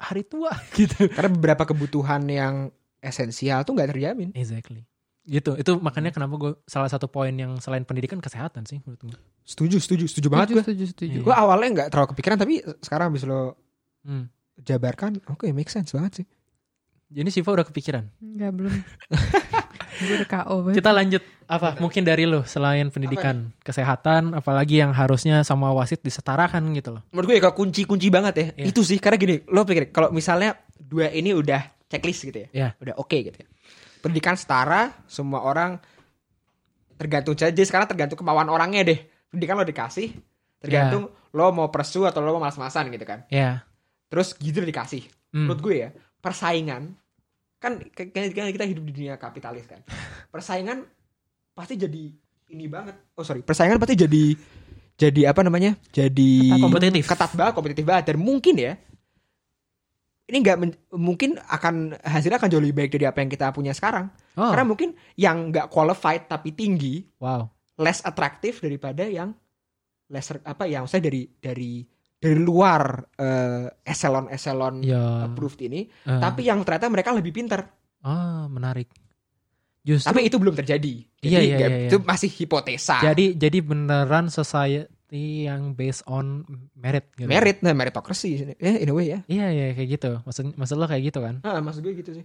S2: hari tua gitu
S3: Karena beberapa kebutuhan yang esensial tuh nggak terjamin.
S2: exactly gitu itu makanya kenapa gue salah satu poin yang selain pendidikan kesehatan sih menurut gue
S3: Setuju, setuju, setuju banget gue.
S1: Setuju, setuju.
S2: Iya.
S3: Gue awalnya nggak terlalu kepikiran tapi sekarang habis lo
S2: Hmm.
S3: jabarkan, oke make sense banget sih.
S2: jadi Siva udah kepikiran
S1: Enggak, belum. Gue udah KO banget.
S2: kita lanjut Hmm. apa mungkin dari lo selain pendidikan
S3: ya?
S2: kesehatan apalagi yang harusnya sama wasit disetarakan gitu loh
S3: Menurut gue ya kalau kunci-kunci banget ya.
S2: Iya.
S3: Itu sih karena gini, lo pikir kalau misalnya dua ini udah checklist gitu ya.
S2: Iya.
S3: Udah oke gitu ya. Pendidikan setara, semua orang tergantung saja sekarang tergantung kemauan orangnya deh. Pendidikan lo dikasih, tergantung
S2: Iya.
S3: lo mau persu atau lo mau malas-malasan gitu kan.
S2: ya
S3: Terus gitu dikasih.
S2: Hmm.
S3: Menurut gue ya, persaingan kan kayak- kayak kita hidup di dunia kapitalis kan. Persaingan pasti jadi ini banget. Oh sorry, persaingan pasti jadi jadi apa namanya? Jadi
S1: Ketat.
S2: kompetitif
S3: ketat banget, kompetitif banget dan mungkin ya ini nggak men- mungkin akan hasilnya akan jauh lebih baik dari apa yang kita punya sekarang.
S2: oh,
S3: Karena mungkin yang nggak qualified tapi tinggi
S2: wow
S3: less atraktif daripada yang lesser apa yang saya dari dari dari luar eh, eselon eselon
S2: ya
S3: approved ini,
S2: eh,
S3: tapi yang ternyata mereka lebih pintar.
S2: ah, menarik justru
S3: Tapi itu belum terjadi. Jadi
S2: Iya, iya,
S3: nggak-
S2: iya,
S3: itu masih hipotesa.
S2: jadi jadi beneran society yang based on merit gitu
S3: merit nah meritokrasi ya in a way ya.
S2: iya iya kayak gitu maksud maksud lo kayak gitu kan
S3: Ah, maksud gue gitu sih.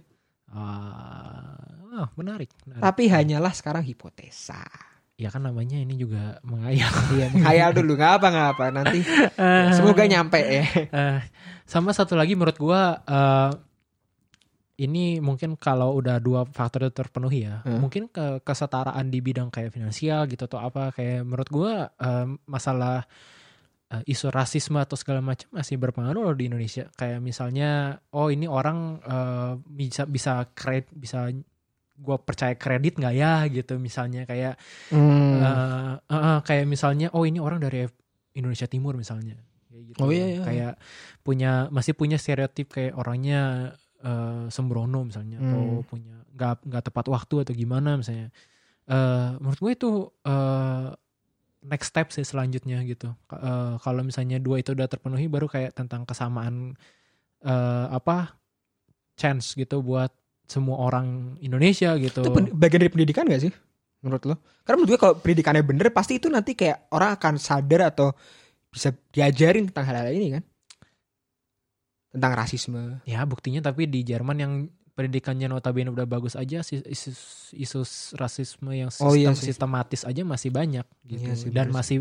S2: ah oh, menarik, menarik.
S3: Tapi hanyalah sekarang hipotesa.
S2: ya kan namanya ini juga mengayal
S3: Iya, menghayal dulu nggak apa-apa nanti. Semoga nyampe ya.
S2: Eh, sama satu lagi menurut gua eh, ini mungkin kalau udah dua faktor itu terpenuhi ya,
S3: Hmm.
S2: mungkin ke kesetaraan di bidang kayak finansial gitu atau apa kayak menurut gua eh, masalah eh, isu rasisme atau segala macam masih berpengaruh loh di Indonesia. Kayak misalnya oh ini orang eh, bisa bisa kredit bisa gua percaya kredit nggak ya gitu misalnya kayak
S3: Hmm.
S2: Eh, eh, eh, kayak misalnya oh ini orang dari F- Indonesia Timur misalnya kayak gitu.
S3: Oh, iya, iya.
S2: kayak punya masih punya stereotip kayak orangnya eh, sembrono misalnya atau
S3: Hmm.
S2: punya nggak nggak tepat waktu atau gimana misalnya Eh, menurut gue itu eh, next step sih selanjutnya gitu Ka- eh, kalau misalnya dua itu udah terpenuhi baru kayak tentang kesamaan eh, apa chance gitu buat semua orang Indonesia gitu
S3: Itu pen- bagian dari pendidikan gak sih? Menurut lo? Karena menurut gue kalau pendidikannya bener pasti itu nanti kayak orang akan sadar atau bisa diajarin tentang hal-hal ini kan. Tentang rasisme.
S2: Ya buktinya tapi di Jerman yang pendidikannya notabene udah bagus aja si- isu isu rasisme yang sistem
S3: Oh iya sih.
S2: sistematis aja masih banyak gitu
S3: Iya sih,
S2: dan
S3: bener
S2: masih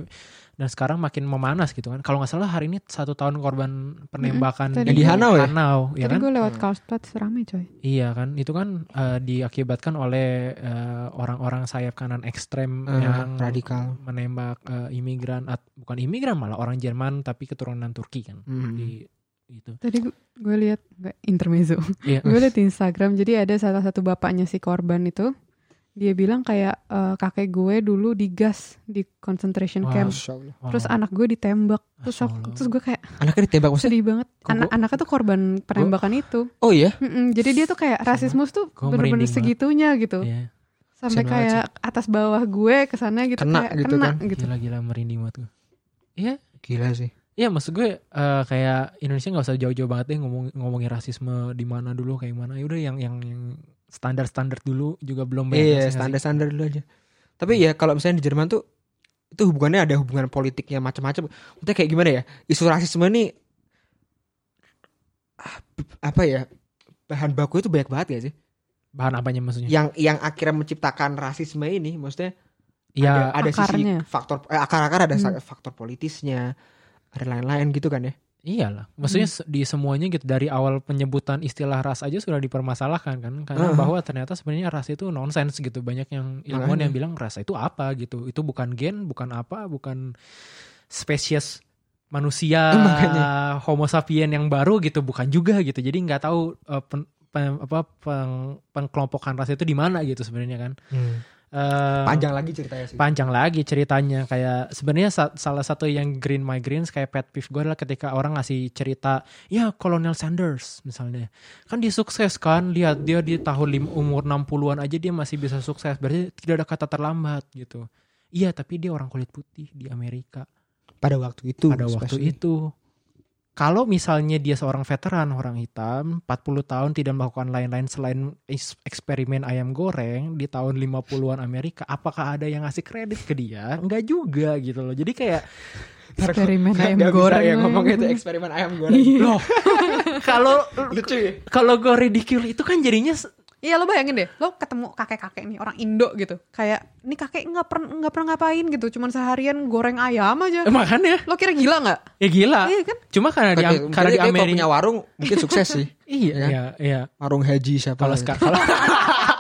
S2: dan sekarang makin memanas gitu kan kalau nggak salah hari ini satu tahun korban penembakan
S1: tadi
S3: Yang di Hanau ya?
S2: Hanau, ya
S1: Tadi
S2: kan
S1: gue
S3: Oh.
S1: lewat Karlsplatz rame coy.
S2: iya kan itu kan eh, diakibatkan oleh eh, orang-orang sayap kanan ekstrem
S3: Eh,
S2: yang
S3: radikal.
S2: menembak eh, imigran at- bukan imigran malah orang Jerman tapi keturunan Turki kan
S3: Mm.
S2: di itu
S1: Tadi gue lihat nggak intermezzo.
S2: Iya.
S1: gue lihat di Instagram jadi ada salah satu bapaknya si korban itu dia bilang kayak e, kakek gue dulu digas di concentration
S2: Wah,
S1: camp.
S3: Masya Allah.
S1: Terus
S2: Wow.
S1: anak gue ditembak. Terus aku-
S2: Astagfirullah.
S1: terus gue kayak
S3: Anaknya ditembak maksudnya?
S1: sedih banget.
S2: Kok
S1: Anak
S2: gua-
S1: anaknya tuh korban penembakan itu.
S3: Oh iya.
S1: Mm-mm, jadi dia tuh kayak rasisme tuh
S2: gua
S1: bener-bener
S2: merinding banget.
S1: segitunya gitu.
S2: Iya.
S1: Sampai
S3: Kasian banget
S1: kayak atas bawah gue ke sana gitu
S3: Kena
S1: kayak
S3: gitu
S1: kena
S3: kan.
S1: gitu.
S2: Gila-gila merinding banget gue.
S3: Gila sih.
S2: Iya maksud gue eh, kayak Indonesia nggak usah jauh-jauh banget deh ngomong ngomongin rasisme di mana dulu kayak mana. Ya udah yang yang yang standar-standar dulu juga belum banyak
S3: Iya,
S2: ngasih-
S3: standar-standar dulu aja. Tapi ya kalau misalnya di Jerman tuh itu hubungannya ada hubungan politiknya macam-macam. Maksudnya kayak gimana ya? Isu rasisme ini ah, b- apa ya? Bahan baku itu banyak banget ya sih.
S2: ngasih- bahan apanya maksudnya?
S3: Yang yang akhirnya menciptakan rasisme ini, maksudnya
S2: Iya,
S3: ada, ada sisi
S1: Akarnya.
S3: faktor eh, akar-akar ada
S1: Hmm.
S3: sa- faktor politisnya, ada lain-lain gitu kan ya.
S2: iyalah. Maksudnya
S3: Hmm.
S2: se- di semuanya gitu dari awal penyebutan istilah ras aja sudah dipermasalahkan kan karena
S3: Uh-huh.
S2: bahwa ternyata sebenarnya ras itu nonsens gitu. Banyak yang ilmuwan
S3: Makanya.
S2: yang bilang ras itu apa gitu. Itu bukan gen, bukan apa, bukan spesies manusia
S3: Eh, makanya.
S2: homo sapien yang baru gitu bukan juga gitu jadi nggak tahu eh, pen- pen- apa peng- pengkelompokan ras itu di mana gitu sebenarnya kan Eh,
S3: Panjang lagi ceritanya sih.
S2: panjang lagi ceritanya kayak sebenarnya sa- salah satu yang green migraines kayak pet peeve gue adalah ketika orang ngasih cerita ya Colonel Sanders misalnya kan dia sukses kan lihat dia di tahun lim- umur 60-an aja dia masih bisa sukses berarti tidak ada kata terlambat gitu iya tapi dia orang kulit putih di Amerika
S3: pada waktu itu.
S2: pada waktu
S3: especially.
S2: itu. Kalau misalnya dia seorang veteran orang hitam, 40 tahun tidak melakukan lain-lain selain is- eksperimen ayam goreng di tahun 50-an Amerika, apakah ada yang ngasih kredit ke dia? Enggak juga gitu loh. Jadi kayak
S1: Eksperimen ayam
S3: Nggak bisa
S1: goreng.
S3: ya ngomong itu eksperimen ayam goreng.
S1: Iya.
S2: loh, kalau
S3: Lucu ya.
S2: kalau gue ridicule itu kan jadinya s-
S1: Iya lo bayangin deh, lo ketemu kakek-kakek nih orang Indo gitu, kayak ini kakek nggak pernah nggak pernah ngapain gitu, cuman seharian goreng ayam aja.
S2: makanya
S1: Lo kira gila nggak?
S2: ya gila.
S1: Iya kan?
S2: Cuma karena di
S3: Oke,
S2: Am- karena
S3: mungkin
S2: di
S3: dia kalau
S2: Amerika
S3: punya warung mungkin sukses sih.
S2: iya
S3: ya kan?
S2: iya iya.
S3: Warung Haji siapa?
S2: Kalau
S3: gitu.
S2: sekarang kalau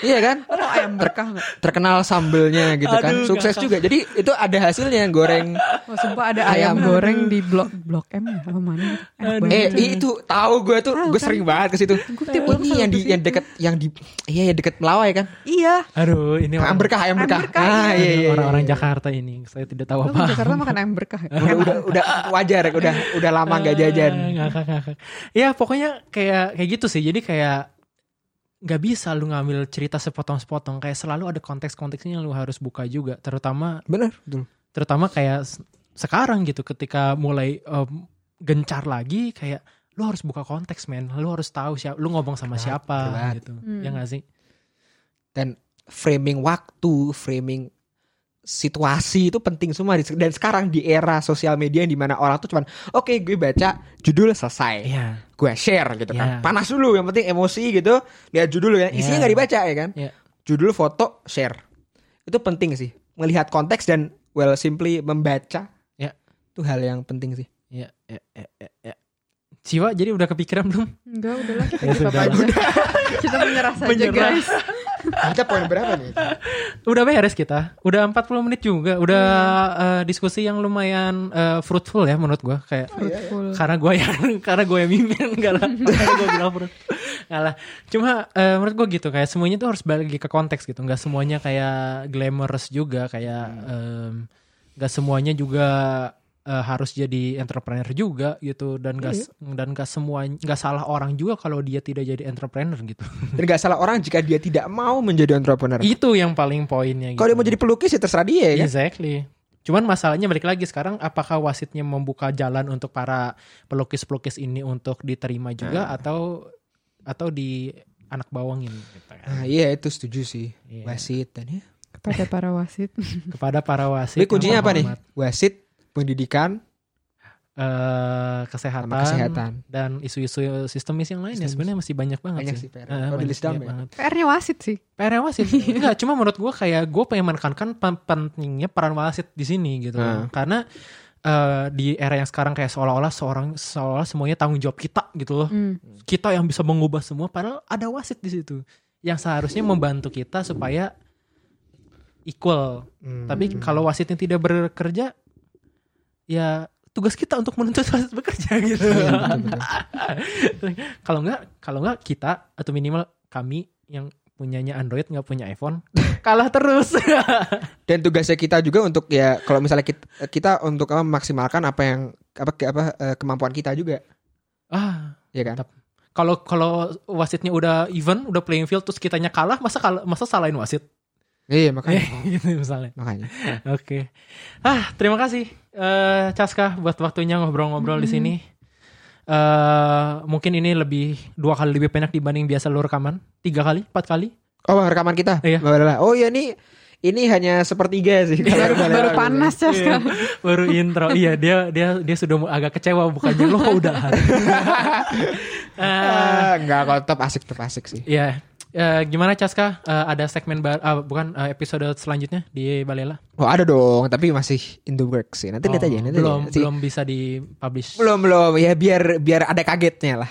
S3: Iya kan?
S1: Lo ayam berkah nggak?
S3: Terkenal sambelnya gitu kan.
S2: Aduh,
S3: Sukses juga. Jadi itu ada hasilnya goreng.
S1: Oh, sumpah ada ayam,
S3: Ayam.
S1: goreng di blok blok M ya, apa mana? Enak
S2: Aduh.
S1: banget.
S3: eh itu tahu gue tuh
S1: Tahu
S3: gue
S1: kan?
S3: sering banget ke situ.
S1: Gue tiap bulan
S3: Ini
S1: selalu
S3: yang di
S1: ke situ.
S3: yang deket yang di iya yang deket Melawai kan.
S1: Iya.
S2: aduh ini
S3: Ayam
S2: orang-
S3: berkah, ayam
S1: Ayam
S3: berkah.
S1: berkah,
S3: Ah
S1: iya.
S3: iya iya.
S2: orang-orang
S3: iya.
S2: Jakarta ini. Saya tidak tahu
S1: Lo
S2: apa.
S1: di Jakarta makan ayam berkah. ya?
S3: Udah, udah udah wajar udah udah lama gak jajan.
S2: Eh, ngakak ngakak. Ya pokoknya kayak kayak gitu sih. Jadi kayak nggak bisa lu ngambil cerita sepotong-sepotong. Kayak selalu ada konteks-konteksnya yang lu harus buka juga. Terutama
S3: Bener betul.
S2: terutama kayak s- sekarang gitu ketika mulai em, gencar lagi kayak lu harus buka konteks men. Lu harus tahu siapa lu ngomong sama
S3: Benar,
S2: siapa
S3: benar banget.
S2: gitu.
S1: Hmm.
S2: Ya gak sih?
S3: Framing waktu, framing situasi itu penting semua Di- dan sekarang di era sosial media yang dimana orang tuh cuman oke gue baca judul selesai
S2: Iya.
S3: gue share gitu
S2: Iya.
S3: kan panas dulu yang penting emosi gitu lihat judul kan
S2: Iya.
S3: isinya nggak dibaca ya kan
S2: Iya.
S3: judul foto share itu penting sih melihat konteks dan well simply membaca
S2: Iya.
S3: itu hal yang penting sih
S2: Iya, iya, iya, iya, iya. Siwa jadi udah kepikiran belum?
S1: Enggak, udahlah kita
S2: Ya
S1: give up
S2: sudah
S1: aja. Kita menyerah saja
S2: Menyerah.
S1: guys.
S3: kita poin berapa nih
S2: Udah beres kita. Udah 40 menit juga. Udah
S3: Iya.
S2: eh, diskusi yang lumayan eh, fruitful ya menurut gua kayak
S1: Fruitful.
S2: karena gue yang karena gue yang mimpin enggak lah karena gue bilang perut enggak lah cuma eh, menurut gue gitu kayak semuanya tuh harus balik lagi ke konteks gitu nggak semuanya kayak glamorous juga kayak
S3: Hmm.
S2: em, nggak semuanya juga eh, harus jadi entrepreneur juga gitu dan
S3: Iya.
S2: gas dan gak semua nggak salah orang juga kalau dia tidak jadi entrepreneur gitu
S3: dan gak salah orang jika dia tidak mau menjadi entrepreneur
S2: itu yang paling poinnya gitu.
S3: kalau dia mau jadi pelukis ya terserah dia ya
S2: Iya.
S3: kan?
S2: Exactly. Cuman masalahnya balik lagi sekarang apakah wasitnya membuka jalan untuk para pelukis-pelukis ini untuk diterima juga
S3: Nah.
S2: atau atau di anak bawangin gitu
S3: Nah,
S2: kan.
S3: iya itu setuju sih
S2: Iya.
S3: wasit dan ya
S1: Kepada para wasit.
S2: Kepada para wasit.
S3: Jadi kuncinya
S2: yang
S3: apa nih
S2: terhormat.
S3: wasit pendidikan
S2: eh, kesehatan,
S3: sama kesehatan.
S2: dan isu-isu sistemis yang lain ya
S3: Sistemis.
S2: sebenarnya masih banyak banget
S3: Banyak
S2: sih.
S3: sih, PR.
S2: Eh,
S3: Kalau di ya.
S2: banyak
S3: list down
S2: banyak
S3: banyak.
S2: banget.
S1: PR-nya wasit sih. Hmm.
S2: PR wasit. Enggak, cuma menurut gue kayak gue pengen menekankan pen- pentingnya peran wasit di sini gitu.
S3: Hmm.
S2: Karena eh, di era yang sekarang kayak seolah-olah seorang seolah semuanya tanggung jawab kita gitu loh.
S1: Hmm.
S2: Kita yang bisa mengubah semua padahal ada wasit di situ yang seharusnya membantu kita supaya equal.
S3: Hmm.
S2: Tapi kalau wasitnya tidak bekerja ya tugas kita untuk menuntut wasit bekerja gitu.
S3: Iya, betul-betul.
S2: kalau enggak kalau enggak kita atau minimal kami yang punyanya Android nggak punya iPhone kalah terus.
S3: dan tugasnya kita juga untuk ya kalau misalnya kita, kita untuk apa, memaksimalkan apa yang apa ke- apa eh, kemampuan kita juga
S2: ah,
S3: ya kan
S2: kalau kalau wasitnya udah even, udah playing field terus kitanya kalah, masa kalah, masa salahin wasit?
S3: iya makanya
S2: gitu misalnya.
S3: makanya
S2: Oke. Ah, terima kasih eh Caska buat waktunya ngobrol-ngobrol di sini. eh mungkin ini lebih dua kali lebih pendek dibanding biasa lu rekaman. Tiga kali, empat kali.
S3: oh rekaman kita
S2: Iya.
S3: Mbak Bella. oh iya nih ini hanya sepertiga sih kalau
S1: Iya, Baru,
S3: Mbak Bella
S1: baru
S3: bilang.
S1: panas
S2: Iya.
S1: ya sekarang.
S2: baru intro iya dia dia dia sudah mau agak kecewa bukannya lo kok udahan Eh,
S3: Ah, enggak kalau tetap asik tetap asik sih
S2: ya Eh, gimana Caska Eh, ada segmen bar- ah, bukan eh, episode selanjutnya di Balela
S3: oh ada dong tapi masih in the works sih nanti lihat
S2: Oh,
S3: aja nanti
S2: belum
S3: lihat sih.
S2: belum bisa di publish
S3: belum belum ya biar biar ada kagetnya lah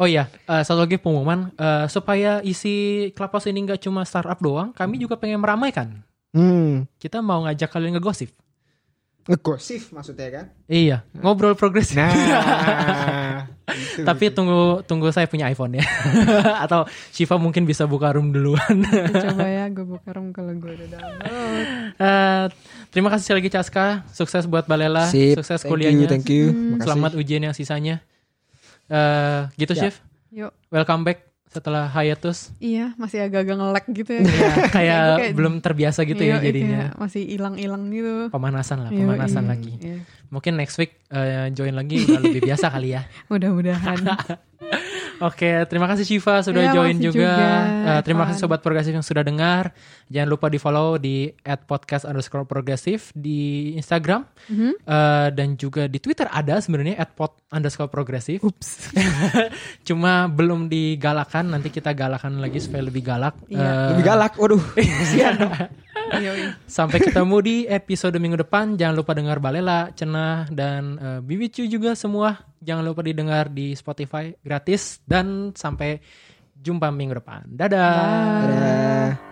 S2: oh iya eh, satu lagi pengumuman Eh, supaya isi Clubhouse ini nggak cuma startup doang kami juga pengen meramaikan
S3: hmm
S2: kita mau ngajak kalian ngegosip
S3: ngegosip maksudnya kan
S2: iya ngobrol progres
S3: nah itu.
S2: Tapi tunggu tunggu saya punya iPhone ya. Atau Shiva mungkin bisa buka room duluan.
S1: Coba ya gue buka room kalau gue udah download.
S2: Eh, terima kasih sekali lagi Caska. Sukses buat Balela, Ah,
S3: Sip.
S2: sukses
S3: Thank
S2: kuliahnya. Hmm,
S3: you, thank you. Makasih.
S2: Selamat ujian yang sisanya. Eh, gitu
S3: Ya.
S2: Shiv.
S1: Yuk.
S2: Welcome back setelah hiatus.
S1: Iya, masih agak-agak nge-lag gitu ya.
S2: Ya, kayak
S1: Gua kayak-
S2: belum terbiasa gitu
S1: Iya,
S2: ya jadinya.
S1: kayak masih hilang-hilang gitu.
S2: Pemanasan lah,
S1: Iya,
S2: pemanasan
S1: iya.
S2: lagi.
S1: Iya.
S2: Mungkin next week eh, join lagi udah lebih biasa kali ya.
S1: Mudah-mudahan.
S2: Oke, terima kasih Shiva
S1: Iya,
S2: sudah join
S1: makasih
S2: juga.
S1: juga,
S2: Eh, terima kasih
S1: Evan.
S2: sobat progresif yang sudah dengar. Jangan lupa di follow di @podcast underscore progresif di Instagram
S1: Mhm.
S2: Eh, dan juga di Twitter ada sebenarnya @pod underscore progresif.
S1: Ups.
S2: Cuma belum digalakan. Nanti kita galakan lagi supaya lebih galak. Eh,
S1: Iya.
S3: lebih galak waduh kasihan dong
S1: Iya, iya.
S2: Sampai ketemu di episode minggu depan. Jangan lupa dengar Balela, Cenah, dan eh, Bibicu juga semua. Jangan lupa didengar di Spotify gratis. Dan sampai jumpa minggu depan. Dadah.
S1: Bye.
S3: Dadah.